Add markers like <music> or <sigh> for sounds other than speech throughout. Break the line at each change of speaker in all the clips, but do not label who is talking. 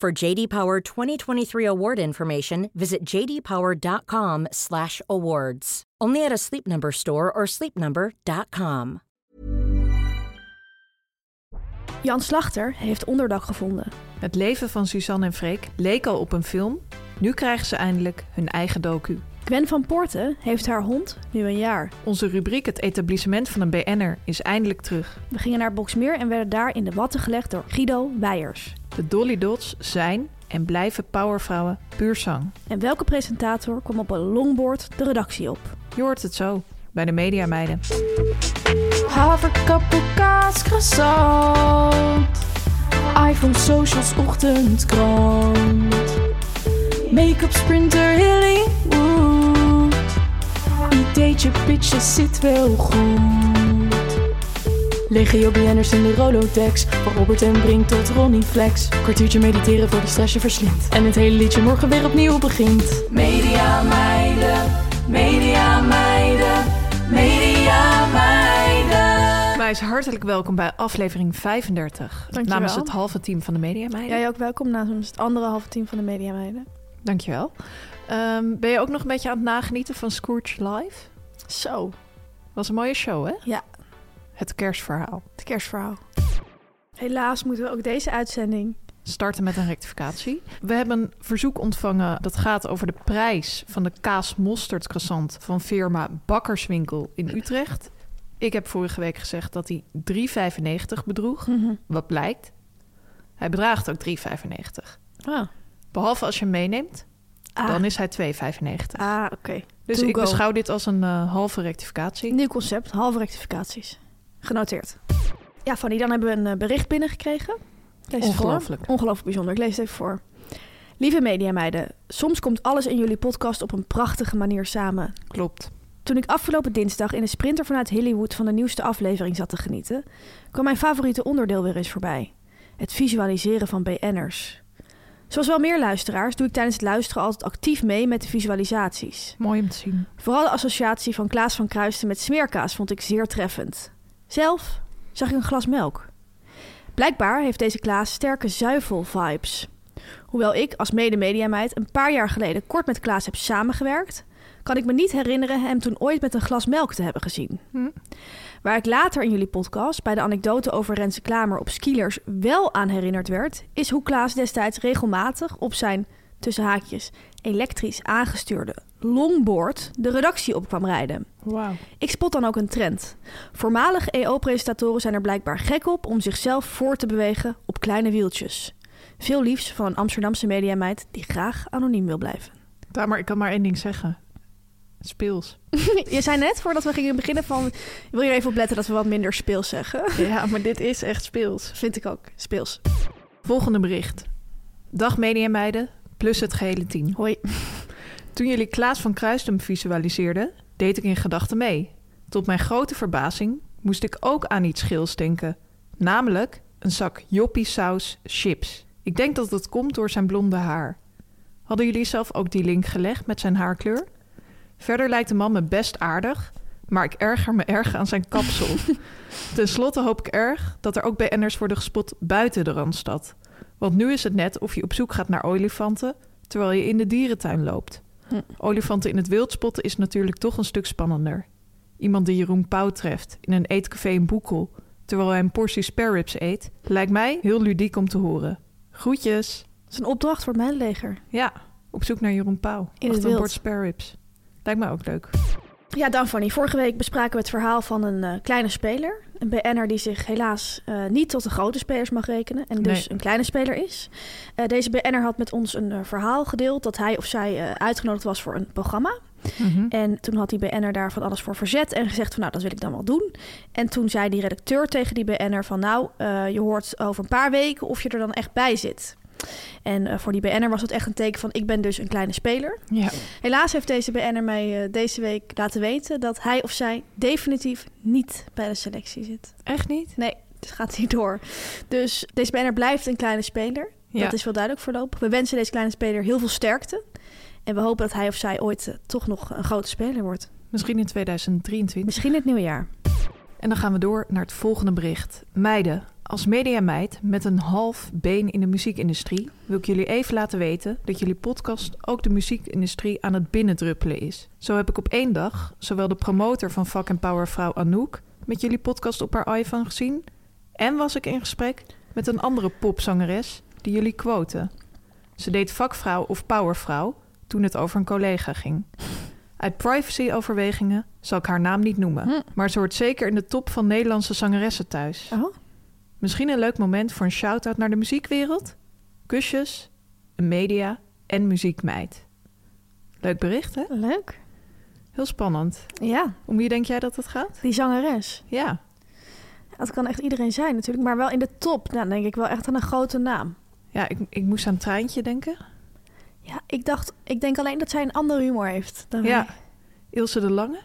For JD Power 2023 award information, visit jdpower.com/awards. Only at a Sleep Number store or sleepnumber.com.
Jan Slachter heeft onderdak gevonden.
Het leven van Suzanne en Freek leek al op een film. Nu krijgen ze eindelijk hun eigen docu.
Gwen van Poorten heeft haar hond nu een jaar.
Onze rubriek Het etablissement van een BN'er is eindelijk terug.
We gingen naar Boksmeer en werden daar in de watten gelegd door Guido Weijers.
De Dolly Dots zijn en blijven powervrouwen puur zang.
En welke presentator kwam op een longboard de redactie op?
Je hoort het zo bij de Media Meiden.
Haverkappelkaas, croissant. iPhone, socials, ochtendkrant. Make-up, sprinter, Hollywood. Ideetje, pitches, zit wel goed. Legio BN'ers in de Rolodex. Van Robert en Brink tot Ronnie Flex. Kwartiertje mediteren voor de stress je verslindt. En het hele liedje morgen weer opnieuw begint. Media meiden, media meiden, media meiden.
Meis, hartelijk welkom bij aflevering 35.
Dankjewel.
Namens het halve team van de Media Meiden.
Jij ook welkom namens het andere halve team van de Media Meiden.
Dankjewel. Ehm, ben je ook nog een beetje aan het nagenieten van Scourge Live?
Zo,
Was een mooie show, hè?
Ja.
Het kerstverhaal.
het kerstverhaal. Helaas moeten we ook deze uitzending.
Starten met een rectificatie. We hebben een verzoek ontvangen dat gaat over de prijs van de kaasmosterd croissant van firma Bakkerswinkel in Utrecht. Ik heb vorige week gezegd dat hij 3,95 bedroeg. Wat blijkt? Hij bedraagt ook 3,95.
Ah,
Behalve als je hem meeneemt,
ah,
dan is hij 2,95.
ah, oké.
dus
to
ik
go.
beschouw dit als een eh, halve rectificatie.
Nieuw concept, halve rectificaties. Genoteerd. Ja, Fanny, dan hebben we een eh, bericht binnengekregen. Ik lees het voor.
Ongelooflijk.
Ongelooflijk bijzonder. Ik lees het even voor. Lieve mediameiden, soms komt alles in jullie podcast op een prachtige manier samen.
Klopt.
Toen ik afgelopen dinsdag in de sprinter vanuit Hollywood van de nieuwste aflevering zat te genieten, kwam mijn favoriete onderdeel weer eens voorbij: het visualiseren van BN'ers. Zoals wel meer luisteraars doe ik tijdens het luisteren altijd actief mee met de visualisaties.
Mooi om te zien.
Vooral de associatie van Klaas van Kruisten met smeerkaas vond ik zeer treffend. Zelf zag ik een glas melk. Blijkbaar heeft deze Klaas sterke zuivel-vibes. Hoewel ik als medemediameid een paar jaar geleden kort met Klaas heb samengewerkt, kan ik me niet herinneren hem toen ooit met een glas melk te hebben gezien.
Hm.
Waar ik later in jullie podcast bij de anekdote over Renze Klamer op Skielers wel aan herinnerd werd, is hoe Klaas destijds regelmatig op zijn, tussen haakjes, elektrisch aangestuurde longboard de redactie op kwam rijden.
Wauw.
Ik spot dan ook een trend. Voormalige EO-presentatoren zijn er blijkbaar gek op om zichzelf voor te bewegen op kleine wieltjes. Veel liefs van een Amsterdamse mediameid die graag anoniem wil blijven. <laughs>
Ja, maar ik kan maar één ding zeggen. Speels.
Je zei net, voordat we gingen beginnen, van... wil je er even op letten dat we wat minder speels zeggen? <laughs>
Ja, maar dit is echt speels.
Vind ik ook, speels.
Volgende bericht. Dag media meiden, plus het gehele team.
Hoi.
Toen jullie Klaas van Kruistum visualiseerden, deed ik in gedachten mee. Tot mijn grote verbazing moest ik ook aan iets geels denken. Namelijk een zak joppie saus chips. Ik denk dat dat komt door zijn blonde haar. Hadden jullie zelf ook die link gelegd met zijn haarkleur? Verder lijkt de man me best aardig, maar ik erger me erg aan zijn kapsel. Ten slotte hoop ik erg dat er ook BN'ers worden gespot buiten de Randstad. Want nu is het net of je op zoek gaat naar olifanten terwijl je in de dierentuin loopt. Olifanten in het wild spotten is natuurlijk toch een stuk spannender. Iemand die Jeroen Pauw treft in een eetcafé in Boekel... terwijl hij een portie spare ribs eet... lijkt mij heel ludiek om te horen. Groetjes!
is een opdracht voor het mijnleger.
Ja, op zoek naar Jeroen Pauw.
het
Achter een
wild.
bord spare ribs. Lijkt me ook leuk.
Ja, dan Fanny. Vorige week bespraken we het verhaal van een eh, kleine speler. Een BN'er die zich helaas eh, niet tot de grote spelers mag rekenen. En dus
Nee.
een kleine speler is. Eh, deze BN'er had met ons een eh, verhaal gedeeld dat hij of zij eh, uitgenodigd was voor een programma.
Mhm.
En toen had die BN'er daar van alles voor verzet en gezegd van nou, dat wil ik dan wel doen. En toen zei die redacteur tegen die BN'er van nou, eh, je hoort over een paar weken of je er dan echt bij zit. En eh, voor die BN'er was dat echt een teken van ik ben dus een kleine speler.
Ja.
Helaas heeft deze BN'er mij eh, deze week laten weten dat hij of zij definitief niet bij de selectie zit.
Echt niet?
Nee, dus gaat niet door. Dus deze BN'er blijft een kleine speler.
Ja.
Dat is wel duidelijk voorlopig. We wensen deze kleine speler heel veel sterkte. En we hopen dat hij of zij ooit eh, toch nog een grote speler wordt.
Misschien in 2023.
Misschien het nieuwe jaar.
En dan gaan we door naar het volgende bericht. Meiden, als mediameid met een half been in de muziekindustrie... wil ik jullie even laten weten dat jullie podcast ook de muziekindustrie aan het binnendruppelen is. Zo heb ik op één dag zowel de promotor van Fuck en Powervrouw Anouk... met jullie podcast op haar iPhone gezien... en was ik in gesprek met een andere popzangeres die jullie quoten. Ze deed vakvrouw of powervrouw toen het over een collega ging. Uit privacyoverwegingen zal ik haar naam niet noemen,
Hm.
maar ze hoort zeker in de top van Nederlandse zangeressen thuis.
Oh.
Misschien een leuk moment voor een shout-out naar de muziekwereld? Kusjes, een media en muziekmeid. Leuk bericht, hè?
Leuk.
Heel spannend.
Ja,
Om wie denk jij dat het gaat?
die zangeres.
Ja,
Dat kan echt iedereen zijn natuurlijk. Maar wel in de top. Nou, dan denk ik wel echt aan een grote naam.
ja ik, ik moest aan Treintje denken.
Ja, ik dacht, ik denk alleen dat zij een ander humor heeft. Dan
Ja,
wij.
Ilse de Lange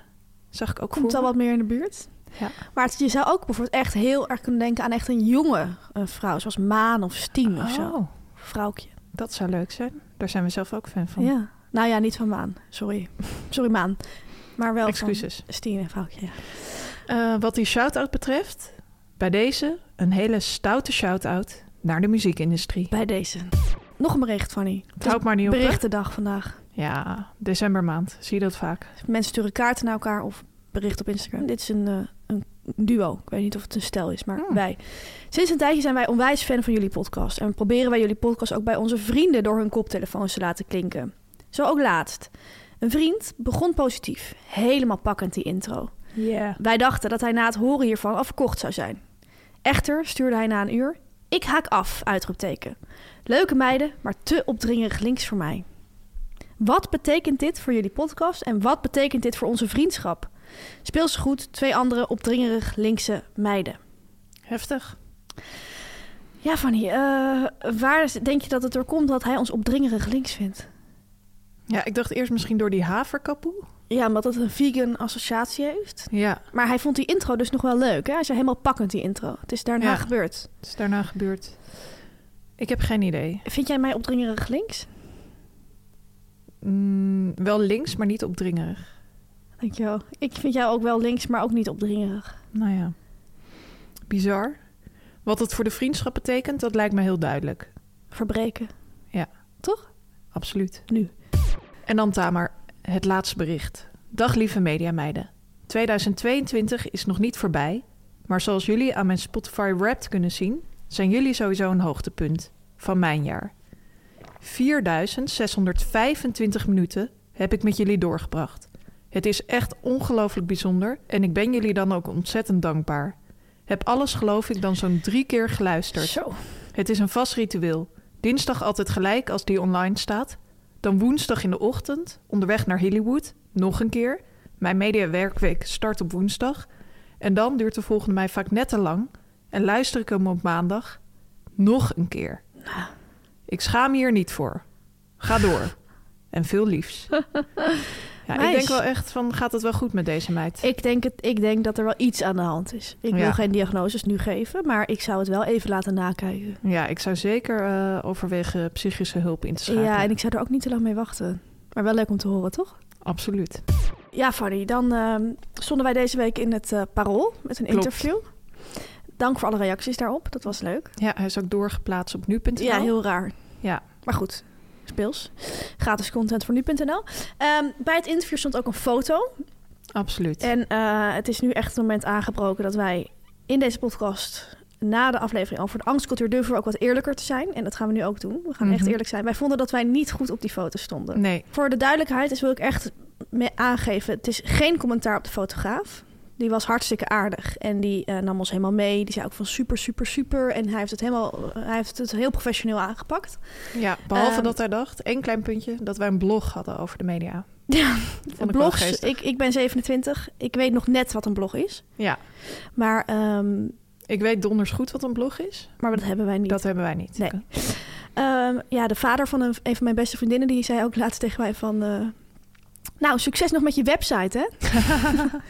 zag ik ook
Oh, Komt
voor
al
me.
wat meer in de buurt.
Ja.
Maar het- je zou ook bijvoorbeeld echt heel erg kunnen denken aan echt een jonge eh, vrouw. Zoals Maan of Steen of zo.
Oh,
Vrouwtje.
dat zou leuk zijn. Daar zijn we zelf ook fan van.
Ja. Nou ja, niet van Maan. Sorry. <laughs> Sorry Maan. Maar wel
Excuses.
van Steen en Vrouwtje. Ja.
Eh, wat die shout-out betreft, bij deze een hele stoute shout-out naar de muziekindustrie.
Bij deze. Nog een bericht, Fanny. Het
Het
is
houdt maar niet op. hè?
berichtendag vandaag.
Ja, decembermaand. Zie je dat vaak?
Mensen sturen kaarten naar elkaar of berichten op Instagram. Dit is een, eh, een duo. Ik weet niet of het een stel is, maar
Hmm.
wij. Sinds een tijdje zijn wij onwijs fan van jullie podcast. En proberen wij jullie podcast ook bij onze vrienden door hun koptelefoons te laten klinken. Zo ook laatst. Een vriend begon positief. Helemaal pakkend die intro.
Ja.
Wij dachten dat hij na het horen hiervan al verkocht zou zijn. Echter stuurde hij na een uur... Ik haak af, uitroepteken. Leuke meiden, maar te opdringerig links voor mij. Wat betekent dit voor jullie podcast en wat betekent dit voor onze vriendschap? Speel ze goed, twee andere opdringerig linkse meiden.
Heftig.
Ja, Fanny, eh, waar is- denk je dat het door komt dat hij ons opdringerig links vindt?
Ja, ik dacht eerst misschien door die haverkapoe.
Ja, omdat het een vegan associatie heeft.
Ja,
Maar hij vond die intro dus nog wel leuk. Hè? Hij zei helemaal pakkend, die intro. Het is daarna
Ja.
gebeurd.
het is daarna gebeurd. Ik heb geen idee.
Vind jij mij opdringerig links?
Mm, wel links, maar niet opdringerig.
Dankjewel. Ik vind jou ook wel links, maar ook niet opdringerig.
Nou ja. Bizar. Wat het voor de vriendschap betekent, dat lijkt me heel duidelijk.
Verbreken.
Absoluut.
Nu.
En dan Tamer, het laatste bericht. Dag lieve mediameiden. 2022 is nog niet voorbij, maar zoals jullie aan mijn Spotify Wrapped kunnen zien, zijn jullie sowieso een hoogtepunt van mijn jaar. 4625 minuten heb ik met jullie doorgebracht. Het is echt ongelooflijk bijzonder en ik ben jullie dan ook ontzettend dankbaar. Heb alles geloof ik dan zo'n drie keer geluisterd.
Zo.
Het is een vast ritueel. Dinsdag altijd gelijk als die online staat. Dan woensdag in de ochtend, onderweg naar Hollywood, nog een keer. Mijn mediawerkweek start op woensdag. En dan duurt de volgende mij vaak net te lang. En luister ik hem op maandag nog een keer. Ik schaam me hier niet voor. Ga door. En veel
<laughs>
liefs. Ja, ik
Meis.
denk wel echt van, gaat het wel goed met deze meid?
Ik denk, het, ik denk dat er wel iets aan de hand is. Ik wil
Ja.
geen diagnoses nu geven, maar ik zou het wel even laten nakijken.
Ja, ik zou zeker eh, overwegen psychische hulp in te schakelen.
Ja, en ik zou er ook niet te lang mee wachten. Maar wel leuk om te horen, toch?
Absoluut.
Ja, Fanny, dan ehm, stonden wij deze week in het eh, Parool met een
Klopt.
interview. Dank voor alle reacties daarop, dat was leuk.
Ja, hij is ook doorgeplaatst op nu.nl.
Ja, heel raar.
Ja.
Maar goed, speels. Gratis content voor nu.nl. Ehm, bij het interview stond ook een foto
Absoluut.
eh, En eh, het is nu echt het moment aangebroken dat wij in deze podcast na de aflevering over de angstcultuur durven we ook wat eerlijker te zijn. En dat gaan we nu ook doen. We gaan echt
Mhm.
eerlijk zijn. Wij vonden dat wij niet goed op die foto stonden.
Nee.
Voor de duidelijkheid is wil ik echt me- aangeven: het is geen commentaar op de fotograaf. Die was hartstikke aardig en die eh, nam ons helemaal mee. Die zei ook van super, super, super. En hij heeft het, helemaal, hij heeft het heel professioneel aangepakt.
Ja, behalve
Ehm,
dat hij dacht, één klein puntje, dat wij een blog hadden over de
<laughs>
media.
Ja,
Vond ik wel
Blogs,
geestig.
ik, ik ben 27. Ik weet nog net wat een blog is.
Ja,
Maar, ehm,
ik weet donders goed wat een blog is.
maar dat hebben wij niet.
Dat hebben wij niet.
Nee. <laughs> Ehm, ja, de vader van een, een van mijn beste vriendinnen... die zei ook laatst tegen mij van... eh, nou, succes nog met je website, hè?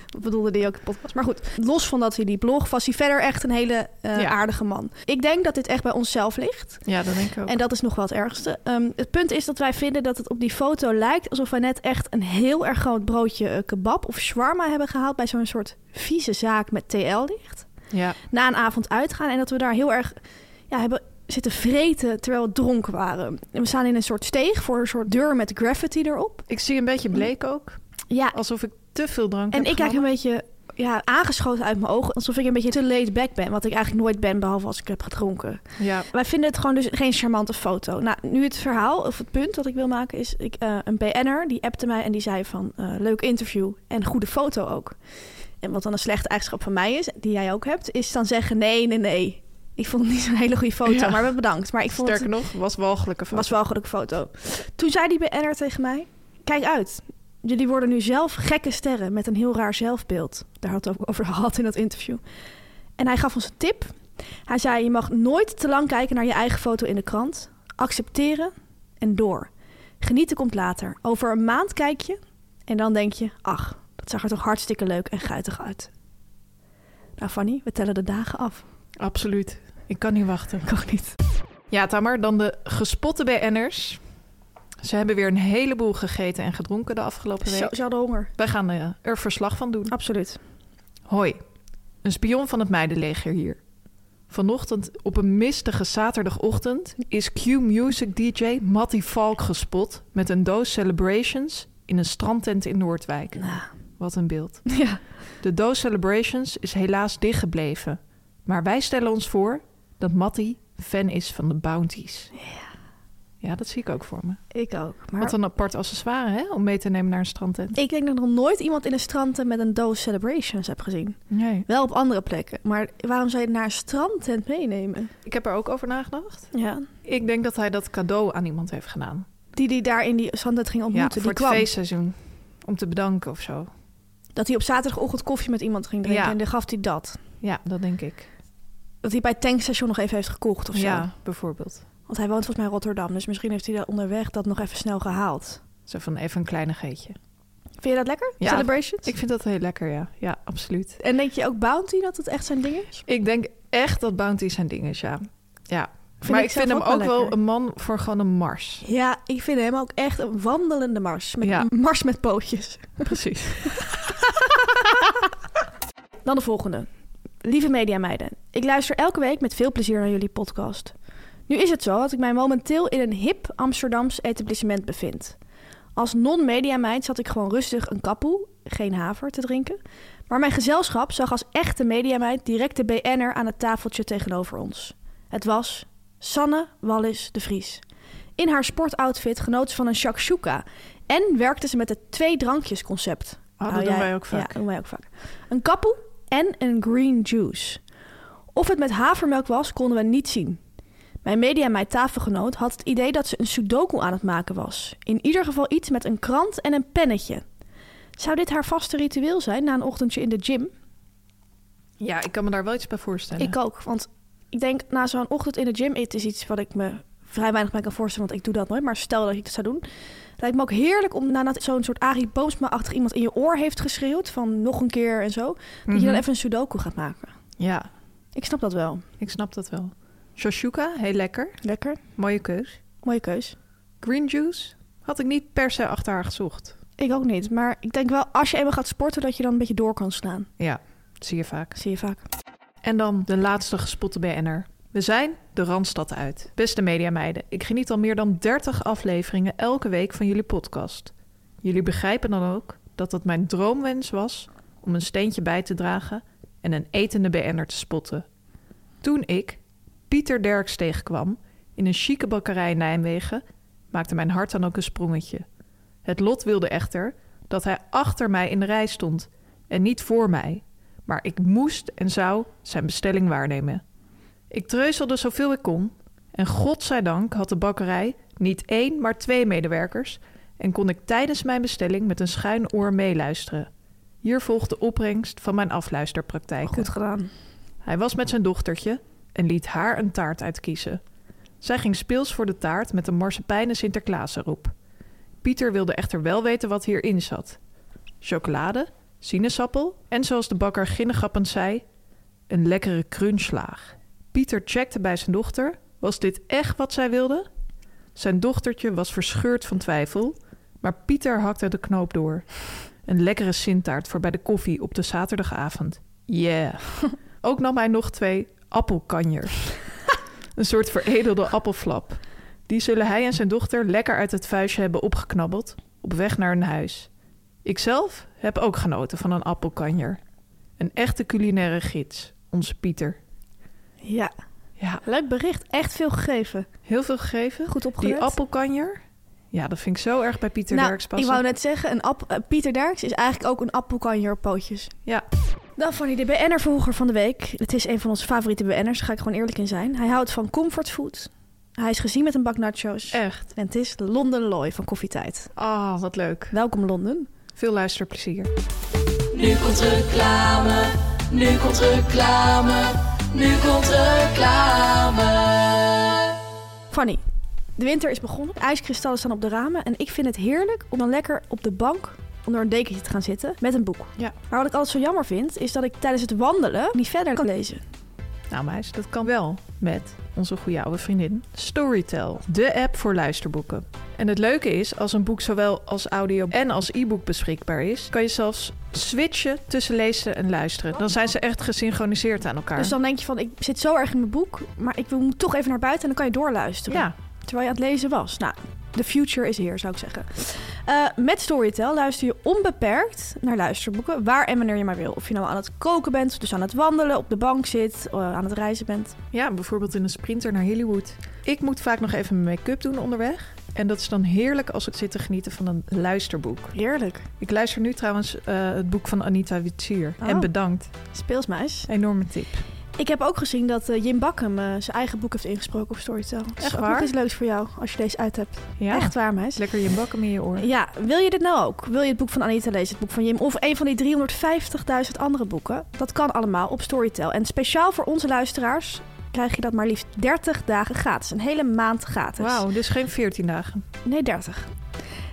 Dat bedoelde die ook in de podcast. Maar goed, los van dat hij die blog... was hij verder echt een hele eh,
Ja.
aardige man. Ik denk dat dit echt bij onszelf ligt.
Ja, dat denk ik ook.
En dat is nog wel het ergste. Ehm, het punt is dat wij vinden dat het op die foto lijkt... alsof wij net echt een heel erg groot broodje eh, kebab of shawarma hebben gehaald... bij zo'n soort vieze zaak met TL ligt
Ja,
na een avond uitgaan. En dat we daar heel erg ja, hebben zitten vreten terwijl we dronken waren. En we staan in een soort steeg voor een soort deur met graffiti erop.
ik zie een beetje bleek ook.
Ja,
Alsof ik te veel drank
en
heb
Oh, ik kijk een
genomen.
beetje ja, aangeschoten uit mijn ogen. Alsof ik een beetje te laid back ben. Wat ik eigenlijk nooit ben, behalve als ik heb gedronken.
Ja,
Wij vinden het gewoon dus geen charmante foto. Nou, nu het verhaal, of het punt wat ik wil maken is... Ik, eh, een BN'er, die appte mij en die zei van... eh, leuk interview en goede foto ook. En wat dan een slechte eigenschap van mij is, die jij ook hebt... is dan zeggen nee, nee, nee. Ik vond het niet zo'n hele goede foto,
Ja.
maar bedankt. Maar ik vond
sterker
het
nog, was walgelijke foto.
was wel een goede foto. Toen zei die BN'er tegen mij... Kijk uit, jullie worden nu zelf gekke sterren... met een heel raar zelfbeeld. Daar had het ook over gehad in dat interview. En hij gaf ons een tip. Hij zei, je mag nooit te lang kijken naar je eigen foto in de krant. Accepteren en door. Genieten komt later. Over een maand kijk je en dan denk je... ach, dat zag er toch hartstikke leuk en guitig uit. Nou Fanny, we tellen de dagen af.
Absoluut. Ik kan niet wachten.
Ik ook niet.
Ja, Tamer, dan de gespotte BN'ers. Ze hebben weer een heleboel gegeten en gedronken de afgelopen
Zo,
week.
ze hadden honger.
Wij gaan eh, er verslag van doen.
Absoluut.
Hoi, een spion van het meidenleger hier. Vanochtend op een mistige zaterdagochtend is Q-music DJ Matty Valk gespot met een doos Celebrations in een strandtent in Noordwijk.
Nou,
Wat een beeld.
ja.
De doos Celebrations is helaas dichtgebleven. Maar wij stellen ons voor dat Matty fan is van de bounties. Ja. dat zie ik ook voor me.
Ik ook. Maar...
Wat een apart accessoire hè, om mee te nemen naar een strandtent.
Ik denk dat ik nog nooit iemand in een strandtent met een doos celebrations heb gezien.
Nee.
Wel op andere plekken. Maar waarom zou je het naar een strandtent meenemen?
Ik heb er ook over nagedacht.
Ja.
Ik denk dat hij dat cadeau aan iemand heeft gedaan.
Die die daar in die strandtent ging ontmoeten,
ja, voor
die kwam.
het feestseizoen. Om te bedanken of zo.
Dat hij op zaterdagochtend koffie met iemand ging drinken
Ja.
en dan gaf hij dat.
Ja, dat denk ik.
Dat hij bij het tankstation nog even heeft gekocht of zo.
Ja, bijvoorbeeld.
Want hij woont volgens mij in Rotterdam, dus misschien heeft hij daar onderweg dat nog even snel gehaald.
Zo van even een kleinigheidje.
Vind je dat lekker?
Ja.
Celebrations?
Ik vind dat heel lekker, ja. Ja, absoluut.
En denk je ook Bounty dat het echt zijn ding is?
Ik denk echt dat Bounty zijn ding is, ja. Ja.
Vind
maar
ik
ik
zelf
vind
ook
hem
wel
ook wel
lekker.
een man voor gewoon een
<laughs>
mars.
Ja, ik vind hem ook echt een wandelende mars. Met
Ja.
Een mars met pootjes.
Precies.
Dan de volgende. Lieve mediameiden, ik luister elke week met veel plezier naar jullie podcast. Nu is het zo dat ik mij momenteel in een hip Amsterdams etablissement bevind. Als non-mediameid zat ik gewoon rustig een kapoe, geen haver, te drinken. Maar mijn gezelschap zag als echte mediameid direct de BN'er aan het tafeltje tegenover ons. Het was Sanne Wallis de Vries. In haar sportoutfit genoot ze van een shakshuka en werkte ze met het twee drankjes concept.
Oh, dat
Nou,
doen
jij-
wij ook
Ja,
vaak.
dat doen wij ook vaak. Een kapoe en een green juice. Of het met havermelk was, konden we niet zien. Mijn media en mijn tafelgenoot had het idee dat ze een sudoku aan het maken was. In ieder geval iets met een krant en een pennetje. Zou dit haar vaste ritueel zijn na een ochtendje in de gym?
Ja, ik kan me daar wel iets bij voorstellen.
Ik ook, want ik denk na zo'n ochtend in de gym, het is iets wat ik me vrij weinig bij kan voorstellen, want ik doe dat nooit. Maar stel dat ik dat zou doen, lijkt me ook heerlijk om nadat zo'n soort Arie Boomsma-achtig iemand in je oor heeft geschreeuwd van nog een keer en zo, dat je dan
Mhm.
even een sudoku gaat maken.
Ja,
Ik snap dat wel.
ik snap dat wel. Shoshuka, heel lekker.
Lekker.
Mooie keus.
Mooie keus.
Green juice had ik niet per se achter haar gezocht.
Ik ook niet, maar ik denk wel als je eenmaal gaat sporten dat je dan een beetje door kan slaan.
Ja, zie je vaak.
Dat zie je vaak.
En dan de laatste gespotte BN'er. We zijn de Randstad uit. Beste mediameiden, ik geniet al meer dan 30 afleveringen elke week van jullie podcast. Jullie begrijpen dan ook dat het mijn droomwens was om een steentje bij te dragen en een etende BN'er te spotten. Toen ik Pieter Derks tegenkwam in een chique bakkerij in Nijmegen, maakte mijn hart dan ook een sprongetje. Het lot wilde echter dat hij achter mij in de rij stond en niet voor mij. Maar ik moest en zou zijn bestelling waarnemen. Ik treuzelde zoveel ik kon en godzijdank had de bakkerij niet één, maar twee medewerkers en kon ik tijdens mijn bestelling met een schuin oor meeluisteren. Hier volgt de opbrengst van mijn afluisterpraktijk.
Goed gedaan.
Hij was met zijn dochtertje en liet haar een taart uitkiezen. Zij ging speels voor de taart met een marsepeinen Sinterklaas erop. Pieter wilde echter wel weten wat hierin zat. Chocolade, sinaasappel en zoals de bakker ginnegappend zei, een lekkere crunchslaag. Pieter checkte bij zijn dochter, was dit echt wat zij wilde? Zijn dochtertje was verscheurd van twijfel, maar Pieter hakte de knoop door. Een lekkere sintaart voor bij de koffie op de zaterdagavond. Yeah. Ook nam hij nog twee appelkanjers.
<laughs>
Een soort veredelde appelflap. Die zullen hij en zijn dochter lekker uit het vuistje hebben opgeknabbeld op weg naar hun huis. Ikzelf heb ook genoten van een appelkanjer. Een echte culinaire gids, onze Pieter.
Ja,
Ja,
leuk bericht. Echt veel gegeven.
heel veel gegeven.
Goed opgelet.
Die appelkanjer, ja, dat vind ik zo erg bij Pieter
nou,
Derks
ik
passen.
wou net zeggen, een app- eh, Pieter Derks is eigenlijk ook een appelkanjer op pootjes.
Ja,
Dan Fanny, de BN'er vroeger van de week. Het is een van onze favoriete BN'ers, daar ga ik gewoon eerlijk in zijn. Hij houdt van comfortfood. Hij is gezien met een bak nachos.
echt.
En het is London Loy van Koffietijd.
Ah, wat leuk.
Welkom Londen.
Veel luisterplezier.
Nu komt reclame, nu komt reclame, nu komt reclame.
Fanny, de winter is begonnen. IJskristallen staan op de ramen. En ik vind het heerlijk om dan lekker op de bank onder een dekentje te gaan zitten met een boek.
Ja.
Maar wat ik altijd zo jammer vind, is dat ik tijdens het wandelen niet verder kan lezen.
Nou meis, dat kan wel met onze goede oude vriendin Storytel, de app voor luisterboeken. En het leuke is, als een boek zowel als audio en als e-book beschikbaar is, kan je zelfs switchen tussen lezen en luisteren. Dan zijn ze echt gesynchroniseerd aan elkaar.
Dus dan denk je van, ik zit zo erg in mijn boek, maar ik moet toch even naar buiten en dan kan je doorluisteren.
Ja,
Terwijl je aan het lezen was. Nou, the future is here, zou ik zeggen. Eh, met Storytel luister je onbeperkt naar luisterboeken, waar en wanneer je maar wil. Of je nou aan het koken bent, dus aan het wandelen, op de bank zit, eh, aan het reizen bent.
ja, bijvoorbeeld in een sprinter naar Hollywood. Ik moet vaak nog even mijn make-up doen onderweg. En dat is dan heerlijk als ik zit te genieten van een luisterboek.
Heerlijk.
Ik luister nu trouwens eh, het boek van Anita Witsier.
Oh.
En bedankt.
Speelsmuis.
Enorme tip.
Ik heb ook gezien dat eh, Jim Bakkum eh, zijn eigen boek heeft ingesproken op Storytel. Dus
Echt
ook
waar?
nog iets leuks voor jou als je deze uit hebt.
Ja,
Echt waar, meis.
lekker je bakken in je oor.
Ja, wil je dit nou ook? Wil je het boek van Anita lezen, het boek van Jim... of een van die 350.000 andere boeken? Dat kan allemaal op Storytel. En speciaal voor onze luisteraars krijg je dat maar liefst 30 dagen gratis. Een hele maand gratis.
Wauw, dus geen 14 dagen.
Nee, 30.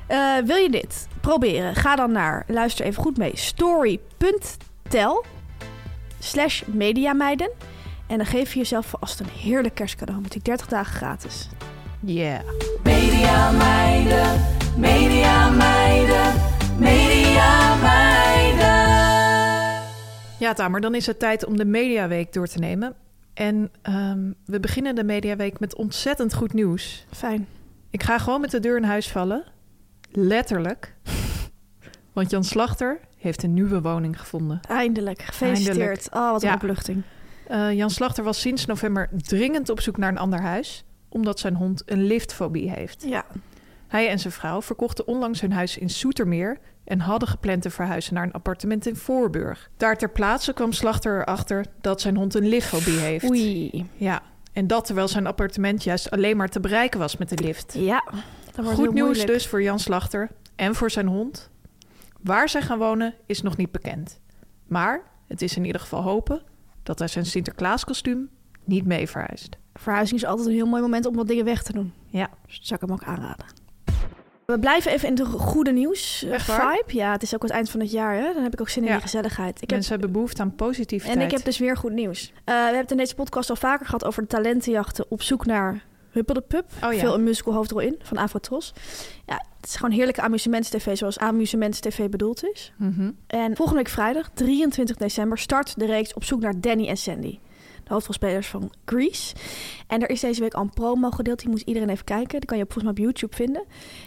Eh, wil je dit proberen? Ga dan naar, luister even goed mee, story.tel slash mediameiden. En dan geef je jezelf vast een heerlijk kerstcadeau met die 30 dagen gratis.
Yeah.
Media meiden, media meiden, media meiden.
Ja, Tamer, dan is het tijd om de Mediaweek door te nemen. En ehm, we beginnen de Mediaweek met ontzettend goed nieuws.
Fijn.
Ik ga gewoon met de deur in huis vallen. Letterlijk. <laughs> Want Jan Slachter heeft een nieuwe woning gevonden.
Eindelijk. Gefeliciteerd.
Eindelijk.
Oh, wat een
Ja.
opluchting.
Eh, Jan Slachter was sinds november dringend op zoek naar een ander huis, omdat zijn hond een liftfobie heeft.
Ja.
Hij en zijn vrouw verkochten onlangs hun huis in Soetermeer en hadden gepland te verhuizen naar een appartement in Voorburg. Daar ter plaatse kwam Slachter erachter dat zijn hond een liftfobie heeft.
Oei.
Ja, en dat terwijl zijn appartement juist alleen maar te bereiken was met de lift.
Ja. Dat wordt heel
Goed nieuws
moeilijk.
dus voor Jan Slachter en voor zijn hond. Waar zij gaan wonen is nog niet bekend. Maar het is in ieder geval hopen dat hij zijn Sinterklaaskostuum niet mee verhuist.
Verhuizing is altijd een heel mooi moment om wat dingen weg te doen.
Ja.
Dus dat zou ik hem ook aanraden. We blijven even in de goede nieuws eh,
Echt waar?
vibe. Ja, het is ook het eind van het jaar. Hè? Dan heb ik ook zin in
Ja.
die gezelligheid. Ik heb
Mensen hebben behoefte aan positiviteit.
En ik heb dus weer goed nieuws. Eh, we hebben het in deze podcast al vaker gehad over de talentenjachten op zoek naar Huppel de Pup.
Oh ja.
Veel een musical hoofdrol in van Avrotros. Ja, het is gewoon heerlijke amusementstv zoals amusementstv bedoeld is.
Mhm.
En volgende week vrijdag, 23 december, start de reeks op zoek naar Danny en Sandy. de hoofdrolspelers van Grease. En er is deze week al een promo gedeeld, die moet iedereen even kijken. Die kan je op, volgens mij op YouTube vinden.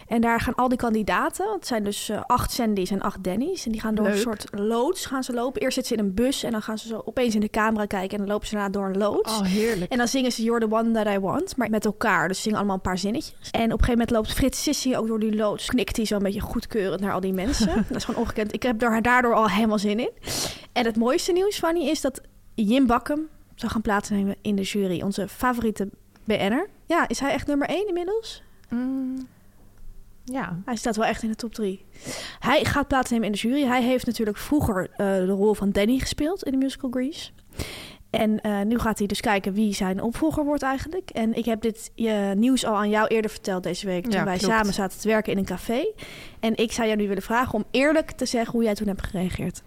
En daar gaan al die kandidaten, want het zijn dus eh, acht Sandy's en acht Danny's. En die gaan door een
Leuk.
soort loods gaan ze lopen. Eerst zitten ze in een bus en dan gaan ze zo opeens in de camera kijken. En dan lopen ze daarna door een loods.
Oh, heerlijk.
En dan zingen ze You're the one that I want, maar met elkaar. Dus ze zingen allemaal een paar zinnetjes. En op een gegeven moment loopt Frits Sissy ook door die loods. Knikt hij zo een beetje goedkeurend naar al die mensen. dat is gewoon ongekend. Ik heb daar daardoor al helemaal zin in. En het mooiste nieuws, Fanny, is dat Jim Bakkum zou gaan plaatsnemen in de jury. Onze favoriete BN'er. Ja, is hij echt nummer één inmiddels?
Mm, ja.
Hij staat wel echt in de top drie. Hij gaat plaatsnemen in de jury. Hij heeft natuurlijk vroeger eh, de rol van Danny gespeeld in de musical Grease. En eh, nu gaat hij dus kijken wie zijn opvolger wordt eigenlijk. En ik heb dit eh, nieuws al aan jou eerder verteld deze week. Toen
Ja,
wij
klopt.
samen zaten te werken in een café. En ik zou jou nu willen vragen om eerlijk te zeggen hoe jij toen hebt gereageerd.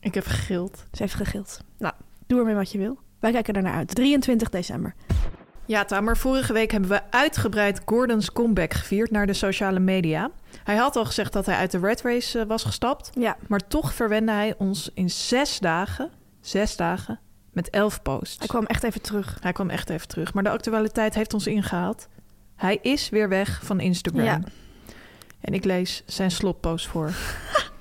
Ik heb gegild.
Ze heeft gegild. Nou, doe ermee wat je wil. Wij kijken ernaar uit. 23 december.
Ja, Tamer, vorige week hebben we uitgebreid Gordons comeback gevierd naar de sociale media. Hij had al gezegd dat hij uit de Red Race eh, was gestapt.
Ja,
Maar toch verwende hij ons in zes dagen, zes dagen, met elf posts.
hij kwam echt even terug.
Hij kwam echt even terug. Maar de actualiteit heeft ons ingehaald. Hij is weer weg van Instagram.
Ja.
En ik lees zijn slotpost voor. <laughs>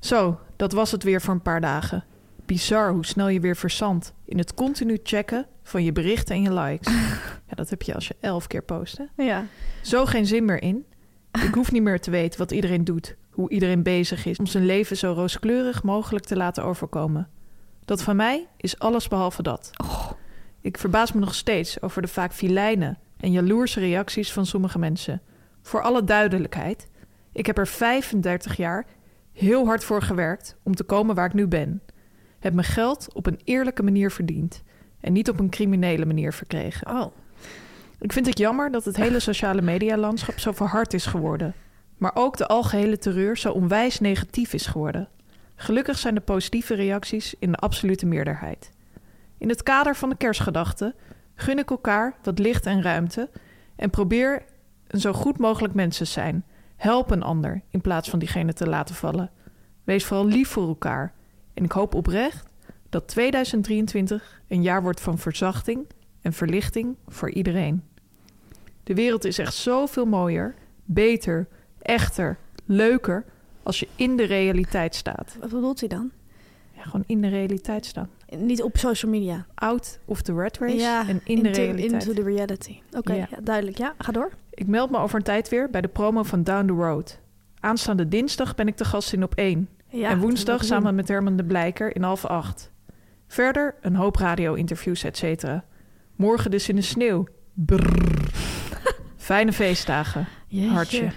Zo, dat was het weer voor een paar dagen. Bizar hoe snel je weer verzandt in het continu checken van je berichten en je likes. Ja, dat heb je als je elf keer post, hè?
Ja.
Zo geen zin meer in. Ik hoef niet meer te weten wat iedereen doet, hoe iedereen bezig is om zijn leven zo rooskleurig mogelijk te laten overkomen. Dat van mij is alles behalve dat. Ik verbaas me nog steeds over de vaak filijne en jaloerse reacties van sommige mensen. Voor alle duidelijkheid, ik heb er 35 jaar heel hard voor gewerkt om te komen waar ik nu ben. Heb mijn geld op een eerlijke manier verdiend en niet op een criminele manier verkregen.
Oh.
Ik vind het jammer dat het hele sociale medialandschap zo verhard is geworden. Maar ook de algehele terreur zo onwijs negatief is geworden. Gelukkig zijn de positieve reacties in de absolute meerderheid. In het kader van de kerstgedachte gun ik elkaar wat licht en ruimte en probeer een zo goed mogelijk mens te zijn. Help een ander in plaats van diegene te laten vallen. Wees vooral lief voor elkaar. En ik hoop oprecht dat 2023 een jaar wordt van verzachting en verlichting voor iedereen. De wereld is echt zoveel mooier, beter, echter, leuker als je in de realiteit staat.
Wat bedoelt hij dan?
Ja, gewoon in de realiteit staan.
Niet op social media.
Out of the red race
ja,
en in de
into,
realiteit.
into the reality. Oké,
Ja.
ja, duidelijk. Ja, ga door.
Ik meld me over een tijd weer bij de promo van Down the Road. Aanstaande dinsdag ben ik te gast in op 1.
Ja,
en woensdag samen met Herman de Blijker in half acht. Verder een hoop radio-interviews, et cetera. Morgen dus in de sneeuw.
<laughs>
Brrr. Fijne feestdagen.
Jeetje.
Hartje.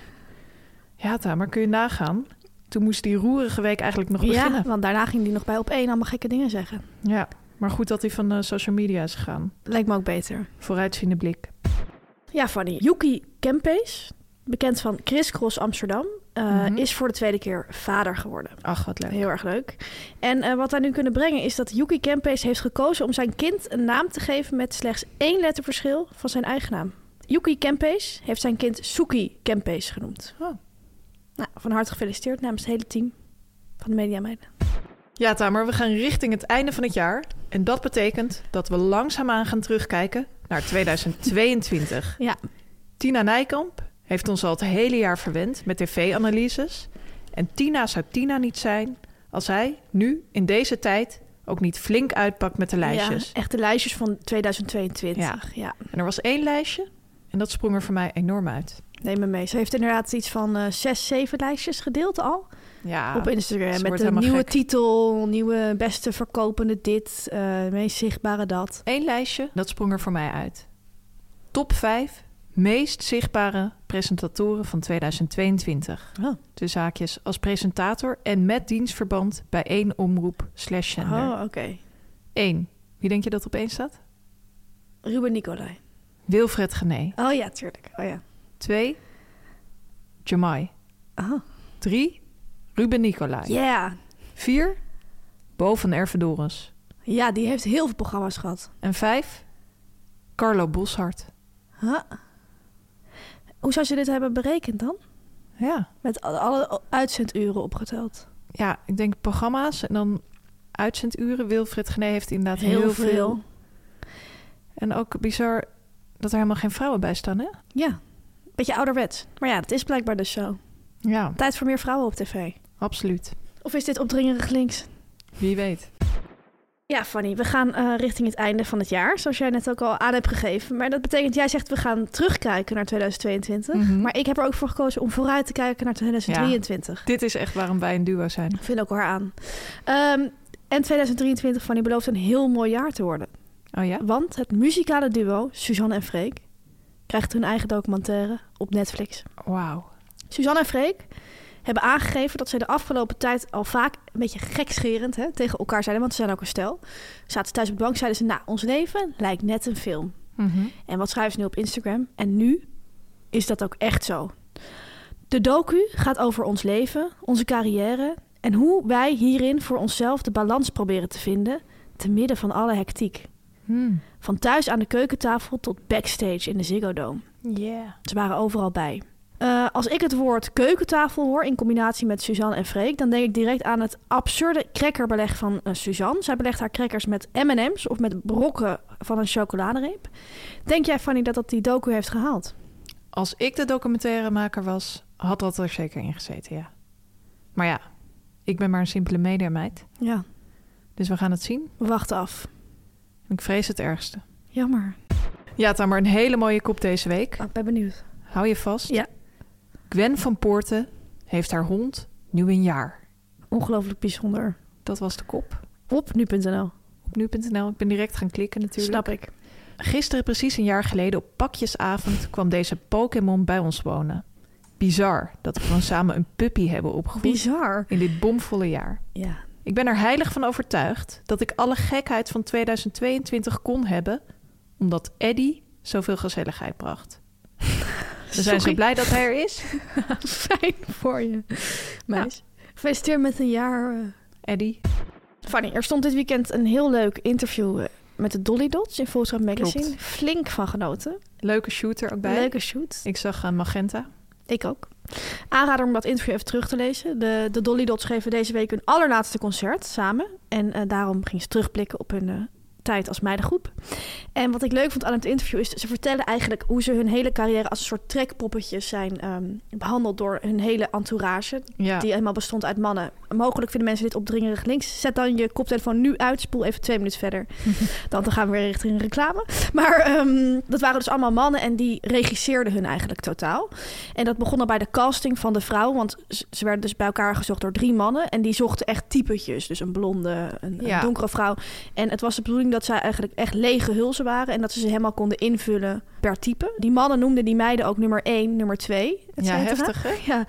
Ja, Tamer, kun je nagaan? Toen moest die roerige week eigenlijk nog
Ja,
beginnen.
want daarna ging die nog bij op één allemaal gekke dingen zeggen.
Ja, maar goed dat hij van eh, social media is gegaan.
Lijkt me ook beter.
Vooruitziende blik.
Ja, Fanny. Yuki Kempees, bekend van Crisscross Amsterdam, eh,
Mhm.
is voor de tweede keer vader geworden.
Ach, wat leuk.
Heel erg leuk. En eh, wat wij nu kunnen brengen is dat Yuki Kempees heeft gekozen om zijn kind een naam te geven met slechts één letterverschil van zijn eigen naam. Yuki Kempees heeft zijn kind Suki Kempees genoemd.
Oh.
Nou, van harte gefeliciteerd namens het hele team van de Media Meiden.
Ja, Tamer, we gaan richting het einde van het jaar. En dat betekent dat we langzaamaan gaan terugkijken naar 2022.
Ja.
<laughs> Tina Nijkamp heeft ons al het hele jaar verwend met tv-analyses. En Tina zou Tina niet zijn als hij nu in deze tijd ook niet flink uitpakt met de lijstjes.
Ja, echt de lijstjes van 2022. Ja.
En er was één lijstje en dat sprong er voor mij enorm uit.
neem me mee. Ze heeft inderdaad iets van eh, zes, zeven lijstjes gedeeld al
Ja,
op Instagram.
Ah, ze
Met
wordt
een
helemaal
nieuwe
gek.
titel, nieuwe beste verkopende dit, eh, meest zichtbare dat.
één lijstje, dat sprong er voor mij uit. Top 5 meest zichtbare presentatoren van 2022.
Oh.
Dus haakjes als presentator en met dienstverband bij één omroep slash zender.
Oh, oké.
1. Wie denk je dat op één staat?
Ruben Nicolai.
Wilfred Gené.
Oh ja, tuurlijk. Oh ja.
2. Jamai.
Oh.
3. Ruben Nicolai.
Ja.
4. Bo van Ervedorens.
Ja, die heeft heel veel programma's gehad.
En 5. Carlo Boshart.
Huh? Hoe zou ze dit hebben berekend dan?
Ja.
Met al- alle uitzenduren opgeteld.
ja, ik denk programma's en dan uitzenduren. Wilfried Gené heeft inderdaad heel, veel. En ook bizar dat er helemaal geen vrouwen bij staan, hè?
Ja, beetje ouderwets. Maar ja, dat is blijkbaar dus zo.
Ja,
Tijd voor meer vrouwen op tv.
absoluut.
Of is dit opdringerig links?
Wie weet.
Ja, Fanny, we gaan eh, richting het einde van het jaar, zoals jij net ook al aan hebt gegeven. Maar dat betekent, jij zegt we gaan terugkijken naar 2022.
Mhm.
Maar ik heb er ook voor gekozen om vooruit te kijken naar 2023.
Dit is echt waarom wij een duo zijn.
Ik vind ook haar aan. Ehm, en 2023, Fanny, belooft een heel mooi jaar te worden.
Oh ja?
Want het muzikale duo Suzanne en Freek krijgt hun eigen documentaire op Netflix.
Wauw.
Suzanne en Freek hebben aangegeven dat ze de afgelopen tijd al vaak een beetje gekscherend hè, tegen elkaar zeiden, want ze zijn ook een stel. Zaten ze thuis op de bank, zeiden ze, nou, ons leven lijkt net een film.
Mhm.
En wat schrijven ze nu op Instagram? En nu is dat ook echt zo. De docu gaat over ons leven, onze carrière en hoe wij hierin voor onszelf de balans proberen te vinden te midden van alle hectiek.
Hmm.
Van thuis aan de keukentafel tot backstage in de Ziggo Dome.
Yeah.
Ze waren overal bij. Eh, als ik het woord keukentafel hoor in combinatie met Suzanne en Freek, dan denk ik direct aan het absurde crackerbeleg van eh, Suzanne. Zij belegt haar crackers met MM's of met brokken van een chocoladereep. Denk jij, Fanny, dat dat die docu heeft gehaald?
Als ik de documentairemaker was, had dat er zeker in gezeten, ja. Maar ja, ik ben maar een simpele mediameid.
Ja,
Dus we gaan het zien.
we wachten af.
Ik vrees het ergste.
Jammer.
Ja, Tamer, een hele mooie kop deze week.
Ah, Ik ben benieuwd.
Hou je vast.
Ja.
Gwen van Poorten heeft haar hond nu een jaar.
Ongelooflijk bijzonder.
Dat was de kop.
Op nu.nl.
Op nu.nl. Ik ben direct gaan klikken natuurlijk.
Snap ik.
Gisteren, precies een jaar geleden, op pakjesavond kwam deze Pokémon bij ons wonen. Bizar dat we gewoon samen een puppy hebben opgevoed
Bizar.
in dit bomvolle jaar.
Ja.
Ik ben er heilig van overtuigd dat ik alle gekheid van 2022 kon hebben, omdat Eddie zoveel gezelligheid bracht. We zijn zo
Sorry.
blij dat hij er is.
<laughs> Fijn voor je. Meis. Gefeliciteerd met een jaar... eh,
Eddie.
Fanny, er stond dit weekend een heel leuk interview eh, met de Dolly Dots in Volkskrant Magazine.
Klopt.
Flink van genoten.
Leuke shooter ook bij.
Leuke shoot.
Ik zag eh, Magenta.
Ik ook. Aanrader om dat interview even terug te lezen. De, de Dolly Dots geven deze week hun allerlaatste concert samen. En eh, daarom ging ze terugblikken op hun eh, tijd als meidengroep. En wat ik leuk vond aan het interview is... ze vertellen eigenlijk hoe ze hun hele carrière als een soort trekpoppetjes zijn... ehm, behandeld door hun hele entourage
Ja.
die helemaal bestond uit mannen. Mogelijk vinden mensen dit opdringerig links. Zet dan je koptelefoon nu uit. Spoel even twee minuten
<laughs>
verder. dan, dan gaan we weer richting een reclame. Maar ehm, dat waren dus allemaal mannen en die regisseerden hun eigenlijk totaal. En dat begon al bij de casting van de vrouw. Want ze ze werden dus bij elkaar gezocht door drie mannen. En die zochten echt typetjes. Dus een blonde, een, een
Ja.
donkere vrouw. En het was de bedoeling dat zij eigenlijk echt lege hulzen waren. En dat ze ze helemaal konden invullen per type. Die mannen noemden die meiden ook nummer één, nummer twee. et
ja,
cetera.
heftig hè?
Ja.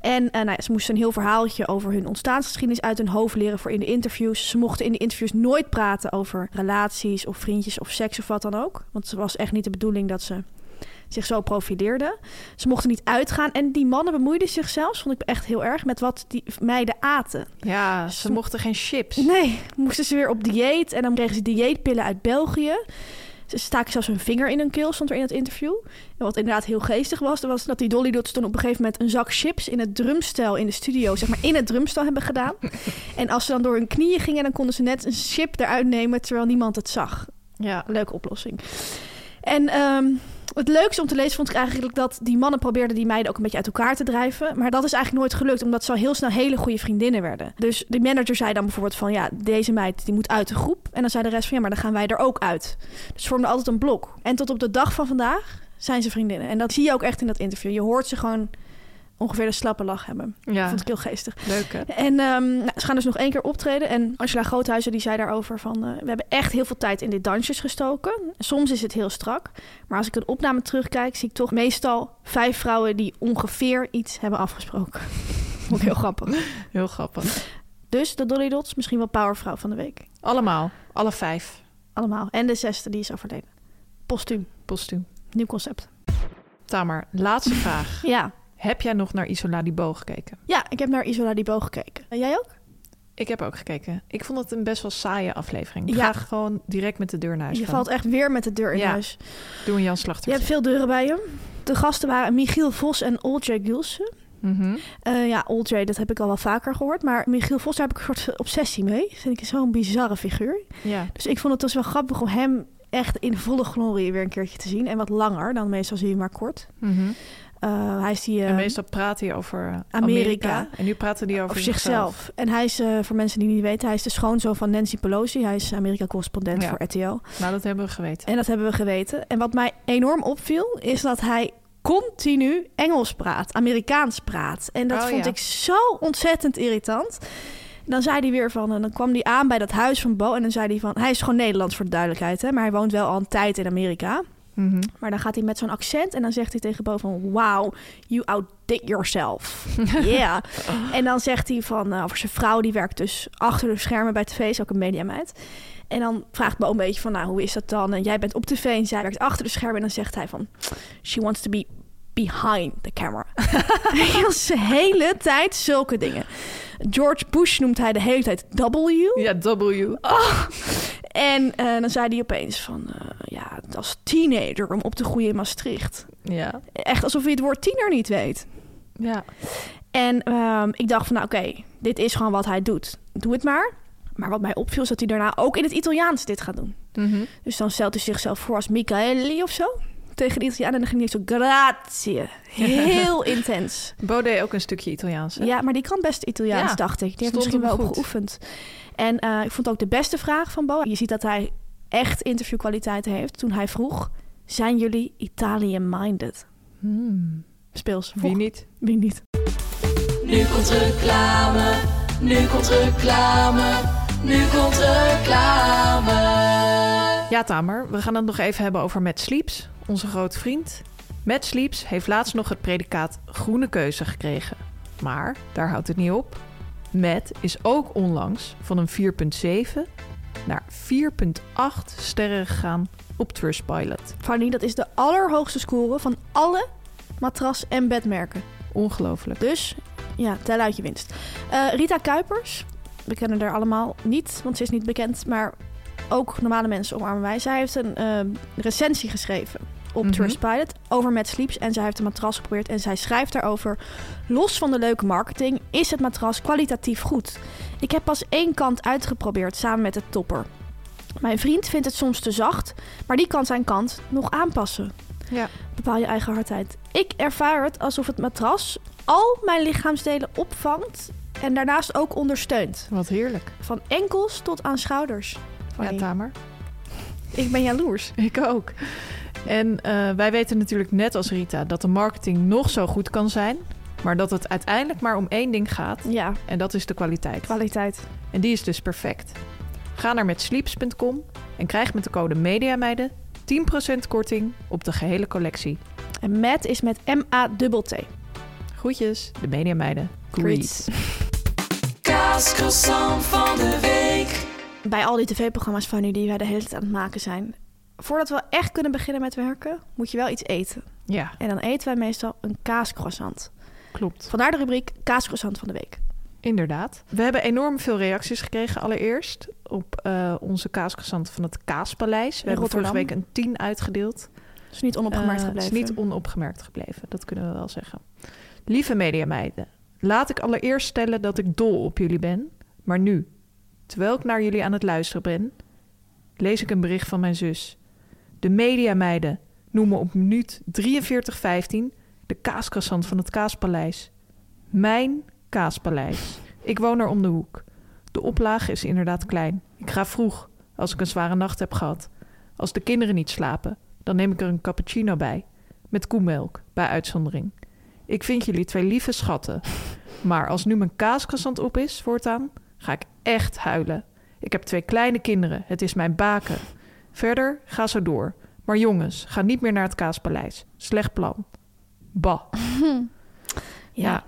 En eh, nou ja, ze moesten een heel verhaaltje over hun ontstaansgeschiedenis uit hun hoofd leren voor in de interviews. Ze mochten in de interviews nooit praten over relaties of vriendjes of seks of wat dan ook. Want het was echt niet de bedoeling dat ze zich zo profileerden. Ze mochten niet uitgaan. En die mannen bemoeiden zich zelfs, vond ik echt heel erg, met wat die meiden aten.
Ja, ze mochten geen chips.
Nee, moesten ze weer op dieet. En dan kregen ze dieetpillen uit België. Ze staken zelfs hun vinger in hun keel, stond er in het interview. En wat inderdaad heel geestig was, dat was dat die Dolly Dots toen op een gegeven moment een zak chips in het drumstel in de studio, zeg maar in het drumstel hebben gedaan. En als ze dan door hun knieën gingen, dan konden ze net een chip eruit nemen terwijl niemand het zag.
Ja.
Leuke oplossing. En ehm, het leukste om te lezen vond ik eigenlijk dat die mannen probeerden die meiden ook een beetje uit elkaar te drijven. Maar dat is eigenlijk nooit gelukt, omdat ze al heel snel hele goede vriendinnen werden. Dus de manager zei dan bijvoorbeeld van, ja, deze meid die moet uit de groep. En dan zei de rest van, ja, maar dan gaan wij er ook uit. Dus ze vormden altijd een blok. En tot op de dag van vandaag zijn ze vriendinnen. En dat zie je ook echt in dat interview. Je hoort ze gewoon ongeveer de slappe lach hebben.
Ja,
Vond ik heel geestig.
leuk hè?
En ehm, nou, ze gaan dus nog één keer optreden. En Angela Groothuizen die zei daarover van... eh, we hebben echt heel veel tijd in dit dansjes gestoken. Soms is het heel strak. Maar als ik een opname terugkijk... zie ik toch meestal vijf vrouwen die ongeveer iets hebben afgesproken. <laughs> Vond ik heel grappig.
Heel grappig.
Dus de Dolly Dots, misschien wel powervrouw van de week.
Allemaal, alle vijf,
Allemaal. En de zesde, die is overleden. Postuum.
postuum.
Nieuw concept.
Tamer, laatste vraag.
Ja.
Heb jij nog naar Isola die Bo gekeken?
Ja, ik heb naar Isola die Boog gekeken. En jij ook?
Ik heb ook gekeken. Ik vond het een best wel saaie aflevering. Ik
Ja.
ga gewoon direct met de deur naar huis
Je
gaan.
valt echt weer met de deur in
Ja.
huis.
Doe een Jan Slachter.
Je hebt veel deuren bij je. De gasten waren Michiel Vos en Olcay Gilsen.
Mhm.
Eh, ja, Old J, dat heb ik al wel vaker gehoord. Maar Michiel Vos, daar heb ik een soort obsessie mee. Vind ik zo'n bizarre figuur.
Ja.
Dus ik vond het dus wel grappig om hem echt in volle glorie weer een keertje te zien. En wat langer dan meestal zie je hem maar kort.
Mhm.
Eh, hij is die... eh,
En meestal praat hij over eh,
Amerika.
Amerika. En nu praten die over
Of zichzelf. En hij is, eh, voor mensen die niet weten, hij is de schoonzoon van Nancy Pelosi. Hij is Amerika-correspondent
Ja.
voor RTL.
Nou, dat hebben we geweten.
En dat hebben we geweten. En wat mij enorm opviel, is dat hij continu Engels praat, Amerikaans praat. En dat
Oh,
vond
ja.
ik zo ontzettend irritant. En dan zei hij weer van, en dan kwam hij aan bij dat huis van Bo. En dan zei hij van, hij is gewoon Nederlands voor de duidelijkheid, hè, maar hij woont wel al een tijd in Amerika.
Mhm.
Maar dan gaat hij met zo'n accent en dan zegt hij tegen Bo van... Wow, you outdid
<laughs>
yourself. Yeah. en dan zegt hij van... eh, over zijn vrouw, die werkt dus achter de schermen bij tv. Is ook een mediameid. En dan vraagt Bo een beetje van... Nou, hoe is dat dan? En jij bent op tv en zij werkt achter de schermen. En dan zegt hij van... She wants to be behind the camera. <laughs> Hij was de hele tijd zulke dingen. George Bush noemt hij de hele tijd W.
Ja, W.
Oh. En eh, dan zei hij opeens van, eh, ja, als teenager om op te groeien in Maastricht.
Ja.
Echt alsof hij het woord tiener niet weet.
Ja.
En ehm, ik dacht van, nou oké, dit is gewoon wat hij doet. Doe het maar. Maar wat mij opviel is dat hij daarna ook in het Italiaans dit gaat doen.
Mhm.
Dus dan stelt hij zichzelf voor als Michaeli of zo. Tegen de Italiaan en dan ging hij zo, grazie. Heel intens.
Bo deed ook een stukje Italiaans. hè?
Ja, maar die kan best Italiaans,
Ja,
dacht ik. Die heeft
stond
misschien
hem
wel op
goed.
geoefend. En eh, ik vond ook de beste vraag van Bo. Je ziet dat hij echt interviewkwaliteiten heeft. Toen hij vroeg, zijn jullie Italian-minded?
Hmm.
Speels.
Wie
Vroeg.
niet?
Wie niet?
Nu komt reclame, nu komt reclame, nu komt reclame.
Ja, Tamer, we gaan het nog even hebben over Matt Sleeps, onze grote vriend. Matt Sleeps heeft laatst nog het predicaat groene keuze gekregen. Maar daar houdt het niet op. Matt is ook onlangs van een 4,7 naar 4,8 sterren gegaan op Trustpilot.
Fanny, dat is de allerhoogste score van alle matras- en bedmerken.
Ongelooflijk.
Dus, ja, tel uit je winst. Eh, Rita Kuipers, we kennen haar allemaal niet, want ze is niet bekend. Maar ook normale mensen omarmen wij. Zij heeft een ehm, recensie geschreven op
Mhm.
Trustpilot over Mad Sleeps. En zij heeft een matras geprobeerd en zij schrijft daarover... Los van de leuke marketing is het matras kwalitatief goed. Ik heb pas één kant uitgeprobeerd samen met de topper. Mijn vriend vindt het soms te zacht, maar die kan zijn kant nog aanpassen.
Ja.
Bepaal je eigen hardheid. Ik ervaar het alsof het matras al mijn lichaamsdelen opvangt en daarnaast ook ondersteunt.
Wat heerlijk.
Van enkels tot aan schouders.
Ja,
Fanny,
Tamer.
ik ben jaloers.
Ik ook. En eh, wij weten natuurlijk net als Rita dat de marketing nog zo goed kan zijn, maar dat het uiteindelijk maar om één ding gaat
Ja,
en dat is de kwaliteit.
kwaliteit.
En die is dus perfect. Ga naar metsleeps.com en krijg met de code MEDIAMEIDEN 10% korting op de gehele collectie.
En Matt is met M-A-T-T.
Groetjes, de MEDIAMEIDEN.
Greets.
<laughs> Kaas croissant van de week.
bij al die tv-programma's van nu die wij de hele tijd aan het maken zijn. Voordat we echt kunnen beginnen met werken, moet je wel iets eten.
Ja,
En dan eten wij meestal een kaascroissant.
klopt.
Vandaar de rubriek kaascroissant van de week.
Inderdaad. We hebben enorm veel reacties gekregen allereerst op eh, onze kaasgezanten van het Kaaspaleis. We
In
hebben vorige
Rotterdam.
week een 10 uitgedeeld.
Dus niet onopgemerkt
Eh,
gebleven.
Het is niet onopgemerkt gebleven, dat kunnen we wel zeggen. Lieve mediameiden, laat ik allereerst stellen dat ik dol op jullie ben. Maar nu, terwijl ik naar jullie aan het luisteren ben, lees ik een bericht van mijn zus. De mediameiden noemen op minuut 43.15 de kaaskassant van het Kaaspaleis. Mijn Kaaspaleis. Ik woon er om de hoek. De oplage is inderdaad klein. Ik ga vroeg, als ik een zware nacht heb gehad. Als de kinderen niet slapen, dan neem ik er een cappuccino bij. Met koemelk, bij uitzondering. Ik vind jullie twee lieve schatten. Maar als nu mijn kaaskassant op is, voortaan, ga ik echt huilen. Ik heb twee kleine kinderen, het is mijn baken. Verder, ga zo door. Maar jongens, ga niet meer naar het kaaspaleis. Slecht plan. Bah. Ja.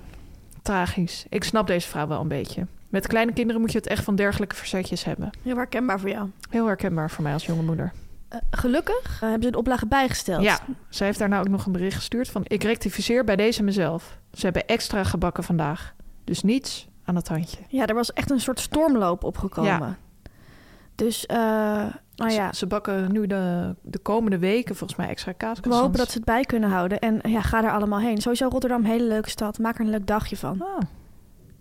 tragisch. Ik snap deze vrouw wel een beetje. Met kleine kinderen moet je het echt van dergelijke verzetjes hebben.
heel herkenbaar voor jou.
Heel herkenbaar voor mij als jonge moeder.
Eh, gelukkig eh, hebben ze de oplage bijgesteld.
Ja, zij heeft daarna ook nog een bericht gestuurd van... ik rectificeer bij deze mezelf. Ze hebben extra gebakken vandaag. Dus niets aan het handje.
ja, er was echt een soort stormloop opgekomen. Dus, eh nou ja,
Ze, ze bakken nu de, de komende weken volgens mij extra kaas.
we hopen dat ze het bij kunnen houden. En ja, ga er allemaal heen. Sowieso Rotterdam, hele leuke stad. Maak er een leuk dagje van.
Ah,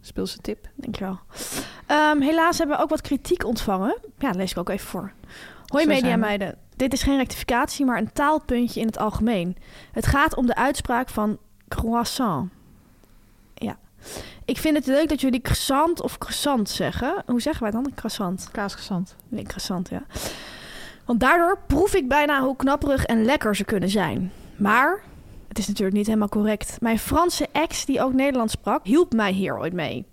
speelse tip.
Dankjewel. Ehm helaas hebben we ook wat kritiek ontvangen. Ja, dat lees ik ook even voor. Hoi
Zo zijn we.
mediameiden. Dit is geen rectificatie, maar een taalpuntje in het algemeen. Het gaat om de uitspraak van croissant. Ja. Ik vind het leuk dat jullie croissant of croissant zeggen. Hoe zeggen wij dan? Croissant.
Kaasgezand.
Interessant, ja. Want daardoor proef ik bijna hoe knapperig en lekker ze kunnen zijn. Maar, het is natuurlijk niet helemaal correct. Mijn Franse ex, die ook Nederlands sprak, hielp mij hier ooit mee.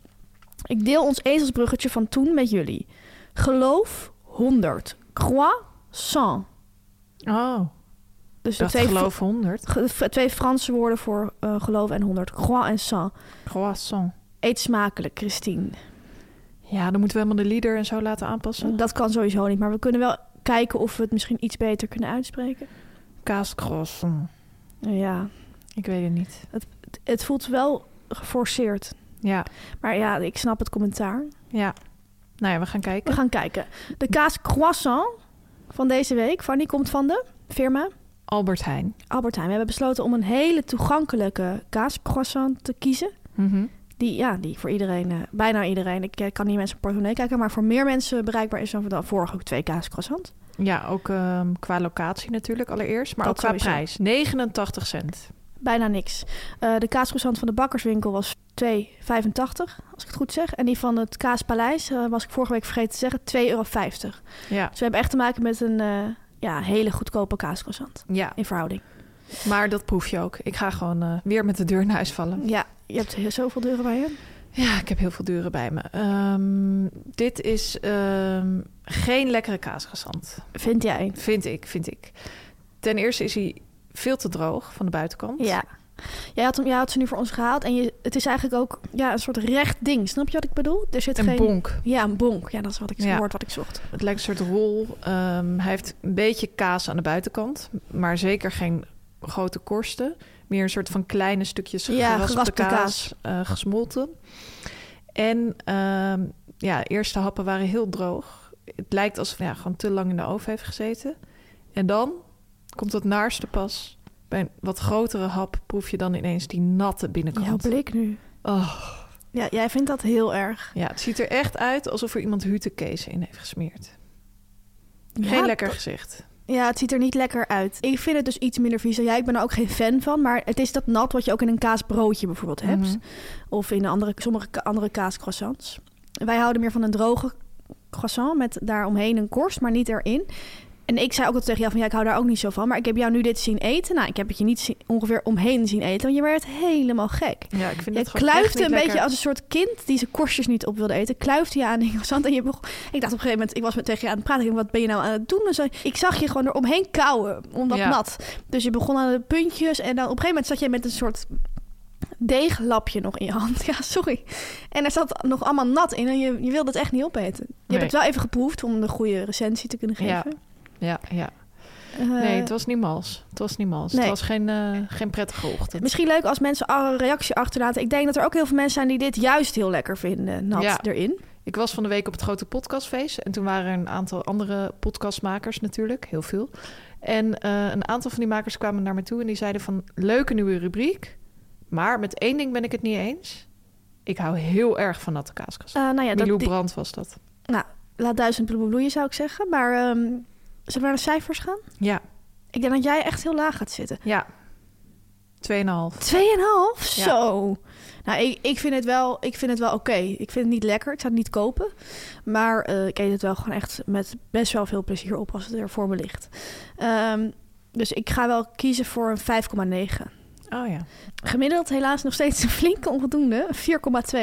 Ik deel ons ezelsbruggetje van toen met jullie. Geloof 100. Croissant.
Oh,
Dus de
dat
twee,
geloof 100.
Fr- ge- twee Franse woorden voor eh, geloof en 100. Croix en sang.
Croissant.
Eet smakelijk, Christine.
Ja, dan moeten we helemaal de leader en zo laten aanpassen.
Dat kan sowieso niet, maar we kunnen wel kijken of we het misschien iets beter kunnen uitspreken.
Kaascroissant.
Ja,
Ik weet het niet.
het voelt wel geforceerd.
Ja,
Maar ja, ik snap het commentaar.
ja. Nou ja, we gaan kijken.
We gaan kijken. De kaas croissant van deze week, van die komt van de firma
Albert Heijn.
Albert Heijn. We hebben besloten om een hele toegankelijke kaas croissant te kiezen.
Mhm.
Die, ja, die voor iedereen, eh, bijna iedereen, ik eh, kan niet mensen op portemonnee kijken, maar voor meer mensen bereikbaar is dan de vorige ook twee kaas croissant.
Ja, ook ehm, qua locatie natuurlijk allereerst, maar
Dat
ook qua
sowieso.
prijs. 89 cent.
Bijna niks. Eh, de kaas croissant van de bakkerswinkel was 2,85 als ik het goed zeg. En die van het kaaspaleis, eh, was ik vorige week vergeten te zeggen, 2,50 euro. Dus
Ja,
we hebben echt te maken met een eh, ja, hele goedkope kaascroissant
ja,
in verhouding.
maar dat proef je ook. Ik ga gewoon eh, weer met de deur naar huis vallen.
Ja, je hebt heel- zoveel deuren bij je.
Ja, ik heb heel veel deuren bij me. Ehm, dit is ehm, geen lekkere kaasgezand,
Vind jij?
vind ik, vind ik. Ten eerste is hij veel te droog van de buitenkant.
Ja. Jij had, hem, jij had ze nu voor ons gehaald en je, het is eigenlijk ook ja, een soort recht ding. Snap je wat ik bedoel? Er zit
Een
geen...
bonk.
Ja, een bonk. Ja, dat is wat ik, het
Ja.
woord wat ik zocht.
Het lijkt een soort rol. Ehm, hij heeft een beetje kaas aan de buitenkant, maar zeker geen grote korsten. Meer een soort van kleine stukjes
Ja,
geraspte,
geraspte
kaas,
kaas.
eh, gesmolten. En ehm, ja, de eerste happen waren heel droog. Het lijkt alsof hij ja, gewoon te lang in de oven heeft gezeten. En dan komt het naarste pas. Bij een wat grotere hap proef je dan ineens die natte
Jouw
binnenkant.
blik nu.
Oh,
Ja, jij vindt dat heel erg.
ja, het ziet er echt uit alsof er iemand hutekees in heeft gesmeerd. Geen
Ja,
lekker gezicht.
Ja, het ziet er niet lekker uit. Ik vind het dus iets minder vies. Ja, ik ben er ook geen fan van. Maar het is dat nat wat je ook in een kaasbroodje bijvoorbeeld hebt.
Mhm.
Of in andere, sommige ka- andere kaascroissants. Wij houden meer van een droge croissant met daaromheen een korst, maar niet erin. En ik zei ook al tegen jou van ja, ik hou daar ook niet zo van. Maar ik heb jou nu dit zien eten. Nou, ik heb het je niet zien- ongeveer omheen zien eten, want je werd helemaal gek.
Ja, ik vind
Je
het gewoon echt
kluifde
niet
een beetje
lekker.
als een soort kind die zijn korstjes niet op wilde eten. Kluifde je aan die croissant en je begon... Ik dacht op een gegeven moment, ik was met tegen je aan het praten. Ik denk, wat ben je nou aan het doen? En zei, ik zag je gewoon eromheen kauwen, omdat
Ja.
nat. Dus je begon aan de puntjes en dan op een gegeven moment zat jij met een soort deeglapje nog in je hand. <laughs> Ja, sorry. En er zat nog allemaal nat in en je, je wilde het echt niet opeten. Je
Nee.
hebt het wel even geproefd om een goede recensie te kunnen
Ja.
geven.
Ja, ja.
Eh,
Nee, het was niet mals. Het was niet mals.
Nee.
Het was geen, eh, geen prettige ochtend.
Misschien leuk als mensen een reactie achterlaten. Ik denk dat er ook heel veel mensen zijn die dit juist heel lekker vinden, nat
Ja.
erin.
Ik was van de week op het grote podcastfeest. En toen waren er een aantal andere podcastmakers natuurlijk. Heel veel. En eh, een aantal van die makers kwamen naar me toe en die zeiden van... Leuke nieuwe rubriek. Maar met één ding ben ik het niet eens. Ik hou heel erg van natte kaaskas.
Eh, nou ja, dat,
Milou
die-
Brandt was dat.
Nou, laat duizend bloemen bloeien, zou ik zeggen. Maar ehm, zullen we naar de cijfers gaan?
Ja,
Ik denk dat jij echt heel laag gaat zitten.
ja. Tweeënhalf.
Tweeënhalf?
Ja.
Zo. Nou, ik, ik vind het wel, ik vind het wel oké. Ik vind het niet lekker. Ik zou het niet kopen. Maar eh, ik eet het wel gewoon echt met best wel veel plezier op als het er voor me ligt. Ehm, dus ik ga wel kiezen voor een 5,9.
Oh ja.
Gemiddeld helaas nog steeds een flinke onvoldoende. 4,2.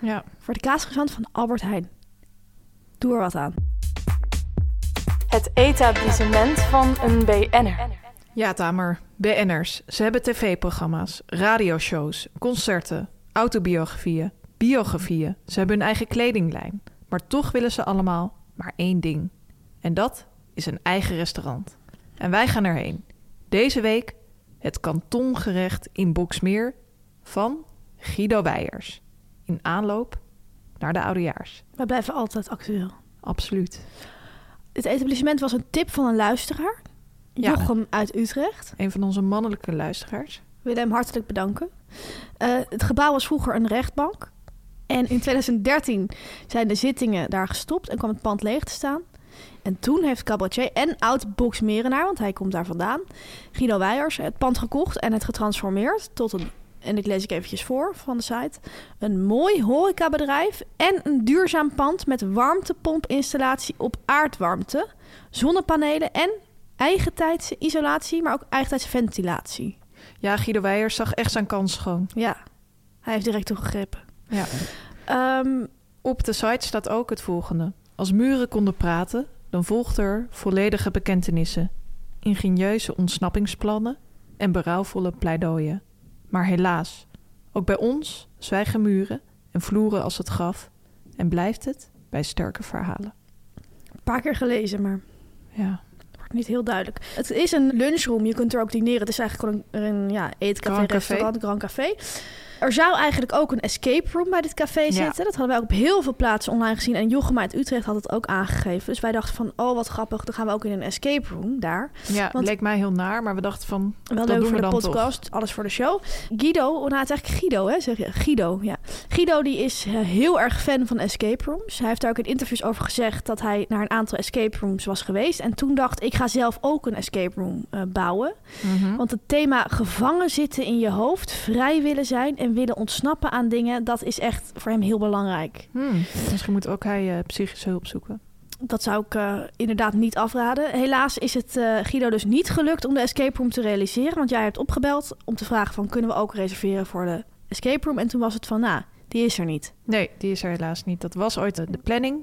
Ja.
Voor de kaasgezant van Albert Heijn. Doe er wat aan.
Het etablissement van een BN'er.
Ja, Tamer. BN'ers. Ze hebben tv-programma's, radioshows, concerten, autobiografieën, biografieën. Ze hebben hun eigen kledinglijn. Maar toch willen ze allemaal maar één ding. En dat is een eigen restaurant. En wij gaan erheen. Deze week het kantongerecht in Boksmeer van Guido Weijers. In aanloop naar de oudejaars.
We blijven altijd actueel.
Absoluut.
het etablissement was een tip van een luisteraar.
Ja.
Jochem uit Utrecht.
Een van onze mannelijke luisteraars.
We willen hem hartelijk bedanken. Eh, het gebouw was vroeger een rechtbank. En in 2013 zijn de zittingen daar gestopt en kwam het pand leeg te staan. En toen heeft cabaretier en oud-box Merenaar, want hij komt daar vandaan, Guido Weijers, het pand gekocht en het getransformeerd tot een, en ik lees ik eventjes voor van de site, een mooi horecabedrijf en een duurzaam pand met warmtepompinstallatie op aardwarmte, zonnepanelen en eigentijdse isolatie, maar ook eigentijdse ventilatie.
Ja, Guido Weijers zag echt zijn kans schoon.
Ja, hij heeft direct toegegrepen.
Ja.
Ehm,
Op de site staat ook het volgende. Als muren konden praten, dan volgden er volledige bekentenissen, ingenieuze ontsnappingsplannen en berouwvolle pleidooien. Maar helaas, ook bij ons zwijgen muren en vloeren als het graf en blijft het bij sterke verhalen.
een paar keer gelezen, maar
Ja,
wordt niet heel duidelijk. Het is een lunchroom, je kunt er ook dineren. Het is eigenlijk gewoon een, een ja, eetcafé,
Grand café.
restaurant, Grand Café. Er zou eigenlijk ook een escape room bij dit café zitten. Dat hadden wij ook op heel veel plaatsen online gezien. En Jochem uit Utrecht had het ook aangegeven. Dus wij dachten van, oh wat grappig, dan gaan we ook in een escape room daar.
ja
Want-
leek mij heel naar, maar we dachten van,
Wel
Dat
leuk
doen
voor
we
de
dan toch.
podcast, alles voor de show. Guido, oh, nou het is eigenlijk Guido, hè, zeg je? Guido, ja. Guido die is eh, heel erg fan van escape rooms. Hij heeft daar ook in interviews over gezegd dat hij naar een aantal escape rooms was geweest. En toen dacht ik ga zelf ook een escape room eh, bouwen.
mhm.
Want het thema gevangen zitten in je hoofd, vrij willen zijn en willen ontsnappen aan dingen, dat is echt voor hem heel belangrijk.
hmm, misschien moet ook hij eh, psychische hulp zoeken.
Dat zou ik eh, inderdaad niet afraden. Helaas is het eh, Guido dus niet gelukt om de escape room te realiseren. Want jij hebt opgebeld om te vragen van kunnen we ook reserveren voor de escape room. En toen was het van nou, die is er niet.
Nee, die is er helaas niet. Dat was ooit eh, de de planning,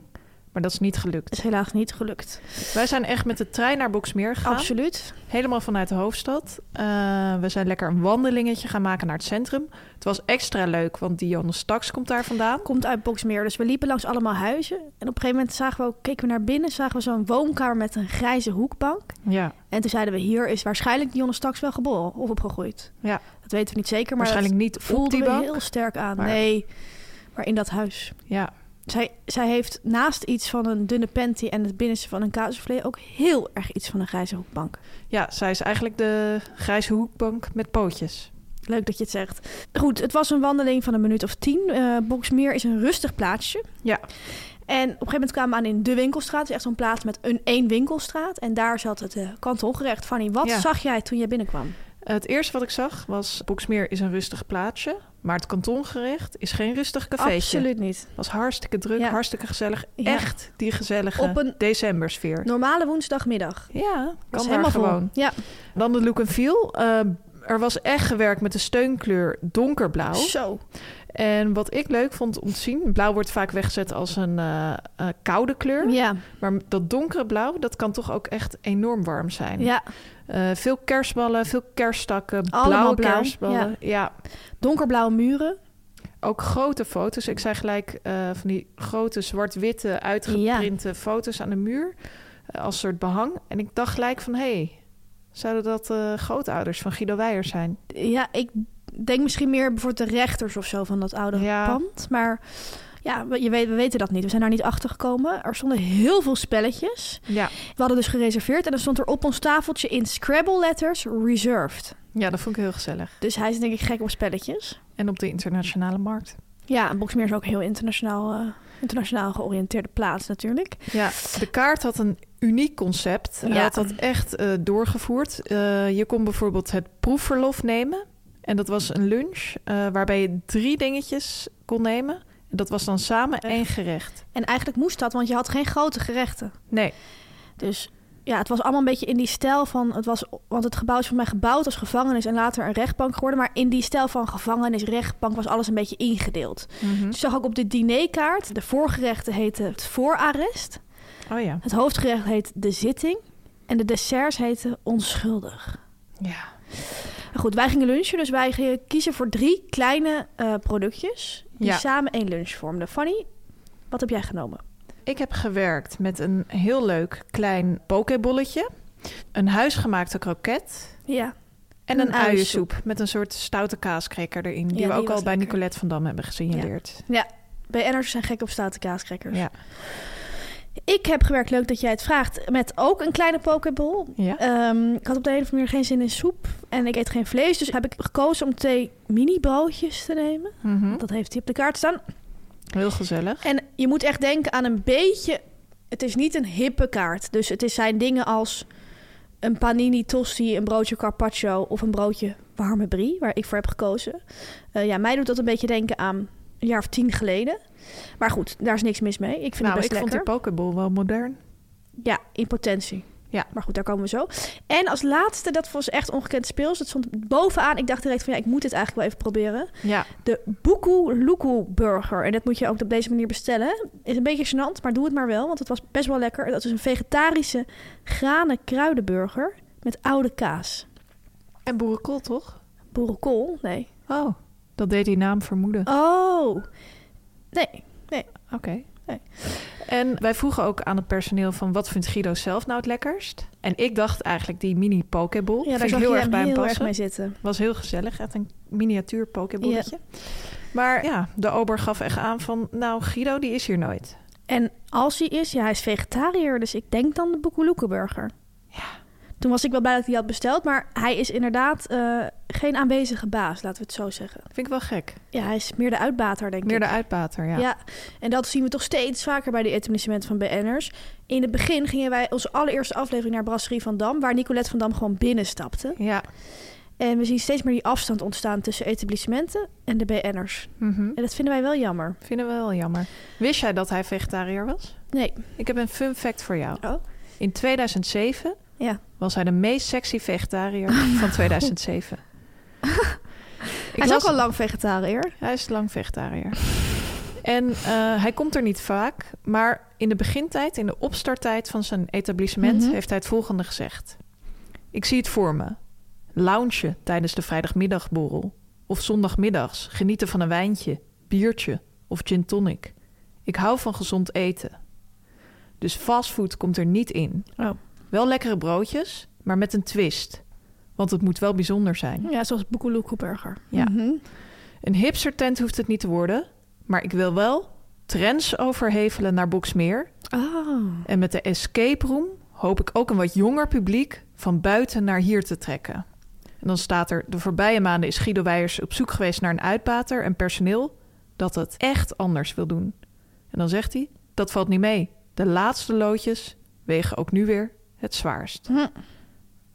maar dat is niet gelukt.
Is helaas niet gelukt.
Wij zijn echt met de trein naar Boksmeer gegaan.
Absoluut.
Helemaal vanuit de hoofdstad. Eh, we zijn lekker een wandelingetje gaan maken naar het centrum. Het was extra leuk, want Dionne Staks komt daar vandaan.
Komt uit Boksmeer. Dus we liepen langs allemaal huizen. En op een gegeven moment zagen we ook, keken we naar binnen, zagen we zo'n woonkamer met een grijze hoekbank.
Ja,
En toen zeiden we hier is waarschijnlijk Dionne straks wel geboren of opgegroeid.
ja.
Dat weten we niet zeker, maar
waarschijnlijk niet
dat voelde
voelde die
we
bank.
heel sterk aan.
maar-
Nee, maar in dat huis.
Ja,
Zij, zij heeft naast iets van een dunne panty en het binnenste van een kaassoufflé ook heel erg iets van een grijze hoekbank.
ja, zij is eigenlijk de grijze hoekbank met pootjes.
Leuk dat je het zegt. Goed, het was een wandeling van een minuut of tien. Eh Boksmeer is een rustig plaatsje.
Ja,
En op een gegeven moment kwamen we aan in de winkelstraat. Het is echt zo'n plaats met een één winkelstraat. En daar zat het eh kantongerecht. Fanny, wat
Ja.
zag jij toen jij binnenkwam?
het eerste wat ik zag was... Boksmeer is een rustig plaatsje, maar het kantongerecht is geen rustig cafeetje.
Absoluut niet.
Het was hartstikke druk,
Ja.
hartstikke gezellig.
Ja.
Echt die gezellige
Op een-
decembersfeer.
Normale woensdagmiddag.
Ja,
Was
kan daar gewoon.
vol. Ja,
Dan de look and feel. Eh, er was echt gewerkt met de steunkleur donkerblauw.
zo.
En wat ik leuk vond om te zien... blauw wordt vaak weggezet als een eh, eh, koude kleur.
Ja,
Maar dat donkere blauw, dat kan toch ook echt enorm warm zijn.
ja.
Eh, veel kerstballen, veel kerststakken,
Allemaal
blauwe
blauw,
kerstballen. Ja.
Donkerblauwe muren.
ook grote foto's. Ik zei gelijk eh, van die grote zwart-witte uitgeprinte foto's aan de muur... eh, als soort behang. En ik dacht gelijk van, hé, hey, zouden dat eh, grootouders van Guido Weijers zijn?
Ja, ik denk misschien meer bijvoorbeeld de rechters of zo van dat oude
Ja.
pand. Maar ja, we- je weet, we weten dat niet. We zijn daar niet achter gekomen. Er stonden heel veel spelletjes.
Ja.
We hadden dus gereserveerd en er stond er op ons tafeltje in Scrabble letters reserved.
ja, dat vond ik heel gezellig.
Dus hij is denk ik gek op spelletjes.
En op de internationale markt.
Ja, en Boxmeer is ook een heel internationaal, eh, internationaal georiënteerde plaats natuurlijk.
Ja, de kaart had een uniek concept. Hij
Ja.
had dat echt eh, doorgevoerd. Eh, je kon bijvoorbeeld het proefverlof nemen. En dat was een lunch eh, waarbij je drie dingetjes kon nemen. En dat was dan samen één gerecht.
En eigenlijk moest dat, want je had geen grote gerechten.
Nee,
Dus ja, het was allemaal een beetje in die stijl van... Het was, want het gebouw is voor mij gebouwd als gevangenis en later een rechtbank geworden. Maar in die stijl van gevangenis, rechtbank was alles een beetje ingedeeld.
Hm. Mhm.
Dus je zag ook op de dinerkaart, de voorgerechten heette het voorarrest.
oh ja.
Het hoofdgerecht heet de zitting. En de desserts heten onschuldig.
Ja,
En goed, wij gingen lunchen, dus wij gingen kiezen voor drie kleine eh, productjes... die
Ja.
samen één lunch vormden. Fanny, wat heb jij genomen?
Ik heb gewerkt met een heel leuk klein pokebolletje. Een huisgemaakte kroket.
Ja,
En
Een
een uiensoep met een soort stoute kaaskreker erin. Die
Ja,
we
die
ook al
was
bij
lekker.
Nicolette van Dam hebben gesignaleerd.
BN'ers zijn gek op staten kaaskrekkers.
Ja.
Ik heb gewerkt, leuk dat jij het vraagt, met ook een kleine pokeball.
Ja.
Ehm, ik had op de een of andere manier geen zin in soep en ik eet geen vlees. Dus heb ik gekozen om twee mini broodjes te nemen.
Mhm.
Dat heeft hij op de kaart staan.
Heel gezellig.
En je moet echt denken aan een beetje... Het is niet een hippe kaart. Dus het is zijn dingen als een panini tosti, een broodje carpaccio... of een broodje warme brie, waar ik voor heb gekozen. Eh, ja, mij doet dat een beetje denken aan een jaar of tien geleden. Maar goed, daar is niks mis mee. Ik vind
nou,
het best
ik
lekker.
vond die pokeball wel modern.
Ja, in potentie.
Ja.
Maar goed, daar komen we zo. En als laatste, dat was echt ongekend speels. Dat stond bovenaan. Ik dacht direct van ja, ik moet dit eigenlijk wel even proberen.
Ja.
De Buku Luku Burger. En dat moet je ook op deze manier bestellen. Is een beetje gênant, maar doe het maar wel. Want het was best wel lekker. Dat is een vegetarische granen kruidenburger met oude kaas.
En boerenkool, toch?
Boerenkool? Nee.
Oh, dat deed die naam vermoeden.
Oh. Nee. Oh,
Oké.
Nee.
En wij vroegen ook aan het personeel van wat vindt Guido zelf nou het lekkerst? En ik dacht eigenlijk die mini pokeball.
Ja, daar
Vind
zag
ik
je
heel erg
hem
bij hem
heel erg
passen.
mee zitten.
Was heel gezellig, echt een miniatuur pokeballetje. Maar ja, de ober gaf echt aan van, nou Guido die is hier nooit.
En als hij is, ja, hij is vegetariër, dus ik denk dan de Boekeloekenburger. Toen was ik wel blij dat ik die had besteld, maar hij is inderdaad eh, geen aanwezige baas, laten we het zo zeggen.
Vind ik wel gek.
Ja, hij is meer de uitbater, denk
Meer
ik.
de uitbater, ja.
ja. en dat zien we toch steeds vaker bij de etablissementen van BN'ers. In het begin gingen wij onze allereerste aflevering naar Brasserie van Dam, waar Nicolette van Dam gewoon binnenstapte.
Ja.
En we zien steeds meer die afstand ontstaan tussen etablissementen en de BN'ers.
mhm.
En dat vinden wij wel jammer.
Vinden we wel jammer. Wist jij dat hij vegetariër was?
Nee.
Ik heb een fun fact voor jou.
Oh?
In 2007
Ja.
was hij de meest sexy
<laughs>
vegetariër van 2007. Ik
hij is
las-
ook al lang vegetariër.
Hij is lang vegetariër. <laughs> En eh, hij komt er niet vaak, maar in de begintijd, in de opstarttijd van zijn etablissement,
Mhm.
heeft hij het volgende gezegd: Ik zie het voor me. Loungen tijdens de vrijdagmiddagborrel. Of zondagmiddags genieten van een wijntje, biertje of gin tonic. Ik hou van gezond eten. Dus fastfood komt er niet in.
Oh.
Wel lekkere broodjes, maar met een twist. Want het moet wel bijzonder zijn.
Ja, zoals Boekeloekenburger.
Ja. Een hipster tent hoeft het niet te worden, maar ik wil wel trends overhevelen naar Boksmeer.
Oh.
En met de escape room hoop ik ook een wat jonger publiek van buiten naar hier te trekken. En dan staat er, de voorbije maanden is Guido Weijers op zoek geweest naar een uitbater en personeel dat het echt anders wil doen. En dan zegt hij, dat valt niet mee. De laatste loodjes wegen ook nu weer het zwaarst.
Hm.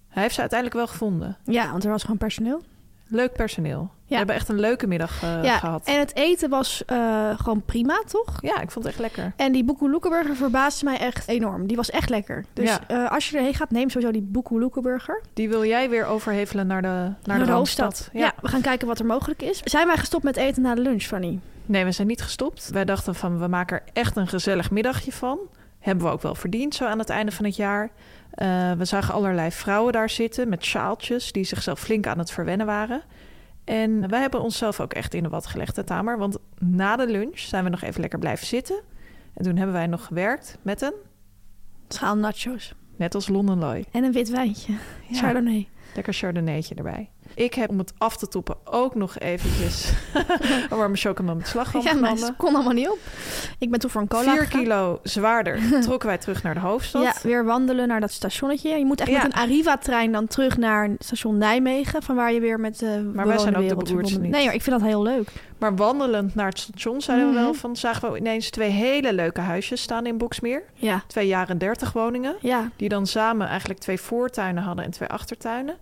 Hij heeft ze uiteindelijk wel gevonden.
Ja, want er was gewoon personeel.
Leuk personeel. We hebben echt een leuke middag eh,
ja,
gehad.
en het eten was eh, gewoon prima, toch?
Ja, ik vond het echt lekker.
En die Boekoe Loekenburger verbaasde mij echt enorm. Die was echt lekker. Dus
Ja.
eh, als je erheen gaat, neem sowieso die Boekoe Loekenburger.
Die wil jij weer overhevelen naar de, naar de, Randstad.
Ja. we gaan kijken wat er mogelijk is. Zijn wij gestopt met eten na de lunch, Fanny?
Nee, we zijn niet gestopt. Wij dachten van, we maken er echt een gezellig middagje van. Hebben we ook wel verdiend zo aan het einde van het jaar. Eh, we zagen allerlei vrouwen daar zitten met sjaaltjes... die zichzelf flink aan het verwennen waren. En wij hebben onszelf ook echt in de wat gelegd, hè, Tamer. Want na de lunch zijn we nog even lekker blijven zitten. En toen hebben wij nog gewerkt met een,
Schaal nachos.
net als Londenlooi.
En een wit wijntje. Chardonnay.
Lekker chardonnaytje erbij. Ik heb om het af te toppen ook
<laughs>
nog eventjes een warme chocomel met slagroom
Ja, maar
genomen.
het kon allemaal niet op. Ik ben toen voor een cola
4
gegaan.
kilo
<laughs>
zwaarder trokken wij terug naar de hoofdstad.
Ja, weer wandelen naar dat stationnetje. Je moet echt
Ja.
met een Arriva-trein dan terug naar station Nijmegen, van waar je weer met de
wij
gewone
zijn ook de
wereld
beroerdste
verbonden
niet.
bent. Nee, maar ik vind dat heel leuk.
Maar wandelend naar het station zeiden we
Mhm.
wel van... zagen we ineens twee hele leuke huisjes staan in Boksmeer.
Ja,
Twee jaren dertig woningen.
ja.
Die dan samen eigenlijk twee voortuinen hadden en twee achtertuinen.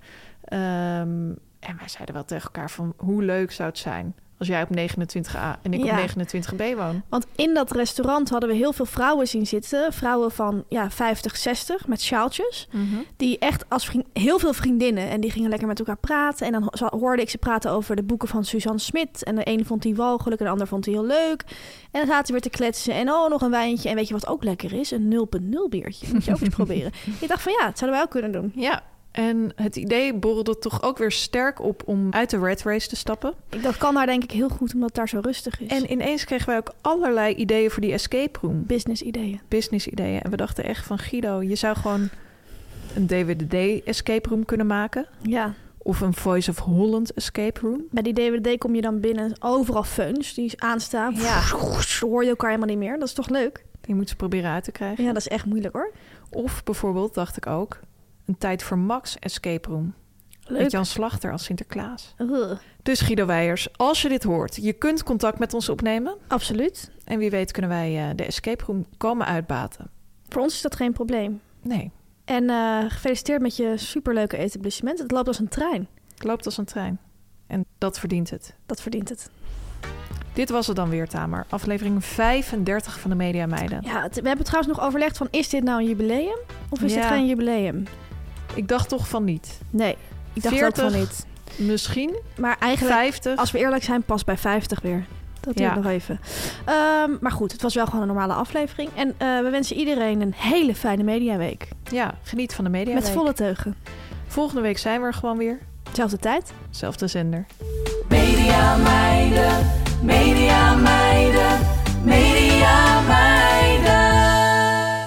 Ehm, en wij zeiden wel tegen elkaar van hoe leuk zou het zijn... als jij op 29a en ik
Ja.
op 29b woon.
Want in dat restaurant hadden we heel veel vrouwen zien zitten. Vrouwen van ja, 50, 60 met sjaaltjes. Die echt als vriend, heel veel vriendinnen. En die gingen lekker met elkaar praten. En dan ho- zo- hoorde ik ze praten over de boeken van Suzanne Smit. En de een vond die walgelijk en de ander vond die heel leuk. En dan zaten we weer te kletsen. En oh, nog een wijntje. En weet je wat ook lekker is? Een 0.0 biertje. Moet je <laughs> ook eens proberen. Ik dacht van ja, dat zouden wij ook kunnen doen.
Ja, en het idee borrelde toch ook weer sterk op om uit de red race te stappen.
Ik- Dat kan daar denk ik heel goed, omdat daar zo rustig is.
En ineens kregen wij ook allerlei ideeën voor die escape room.
business ideeën.
Business ideeën. En we dachten echt van Guido, je zou gewoon een DWDD escape room kunnen maken.
Ja,
Of een Voice of Holland escape room.
Bij die DWD kom je dan binnen, overal feuns die aanstaan. Ja. Dan hoor je elkaar helemaal niet meer. Dat is toch leuk?
Je moet ze proberen uit te krijgen.
Ja, dat is echt moeilijk hoor.
Of bijvoorbeeld, dacht ik ook, een tijd voor Max Escape Room. Met
Leuk.
Jan Slachter als Sinterklaas.
Ugh.
Dus Guido Weijers, als je dit hoort, je kunt contact met ons opnemen.
Absoluut.
En wie weet kunnen wij eh, de escape room komen uitbaten.
Voor ons is dat geen probleem.
Nee,
En eh, gefeliciteerd met je superleuke etablissement. Het loopt als een trein.
het loopt als een trein. En dat verdient het.
Dat verdient het.
Dit was het dan weer, Tamer. Aflevering 35 van de Media Meiden.
Ja, het- we hebben trouwens nog overlegd van is dit nou een jubileum of is dit
Ja.
geen jubileum?
Ik dacht toch van niet.
Nee, ik dacht ook
40.
van niet.
Misschien
Maar eigenlijk,
50.
als we eerlijk zijn, pas bij 50 weer. Dat duurt
Ja.
nog even. Ehm, maar goed, het was wel gewoon een normale aflevering. En eh, we wensen iedereen een hele fijne mediaweek.
Ja, geniet van de media.
Met
Week.
volle teugen.
Volgende week zijn we er gewoon weer.
Zelfde tijd.
Zelfde zender.
Media meiden, media meiden, media meiden.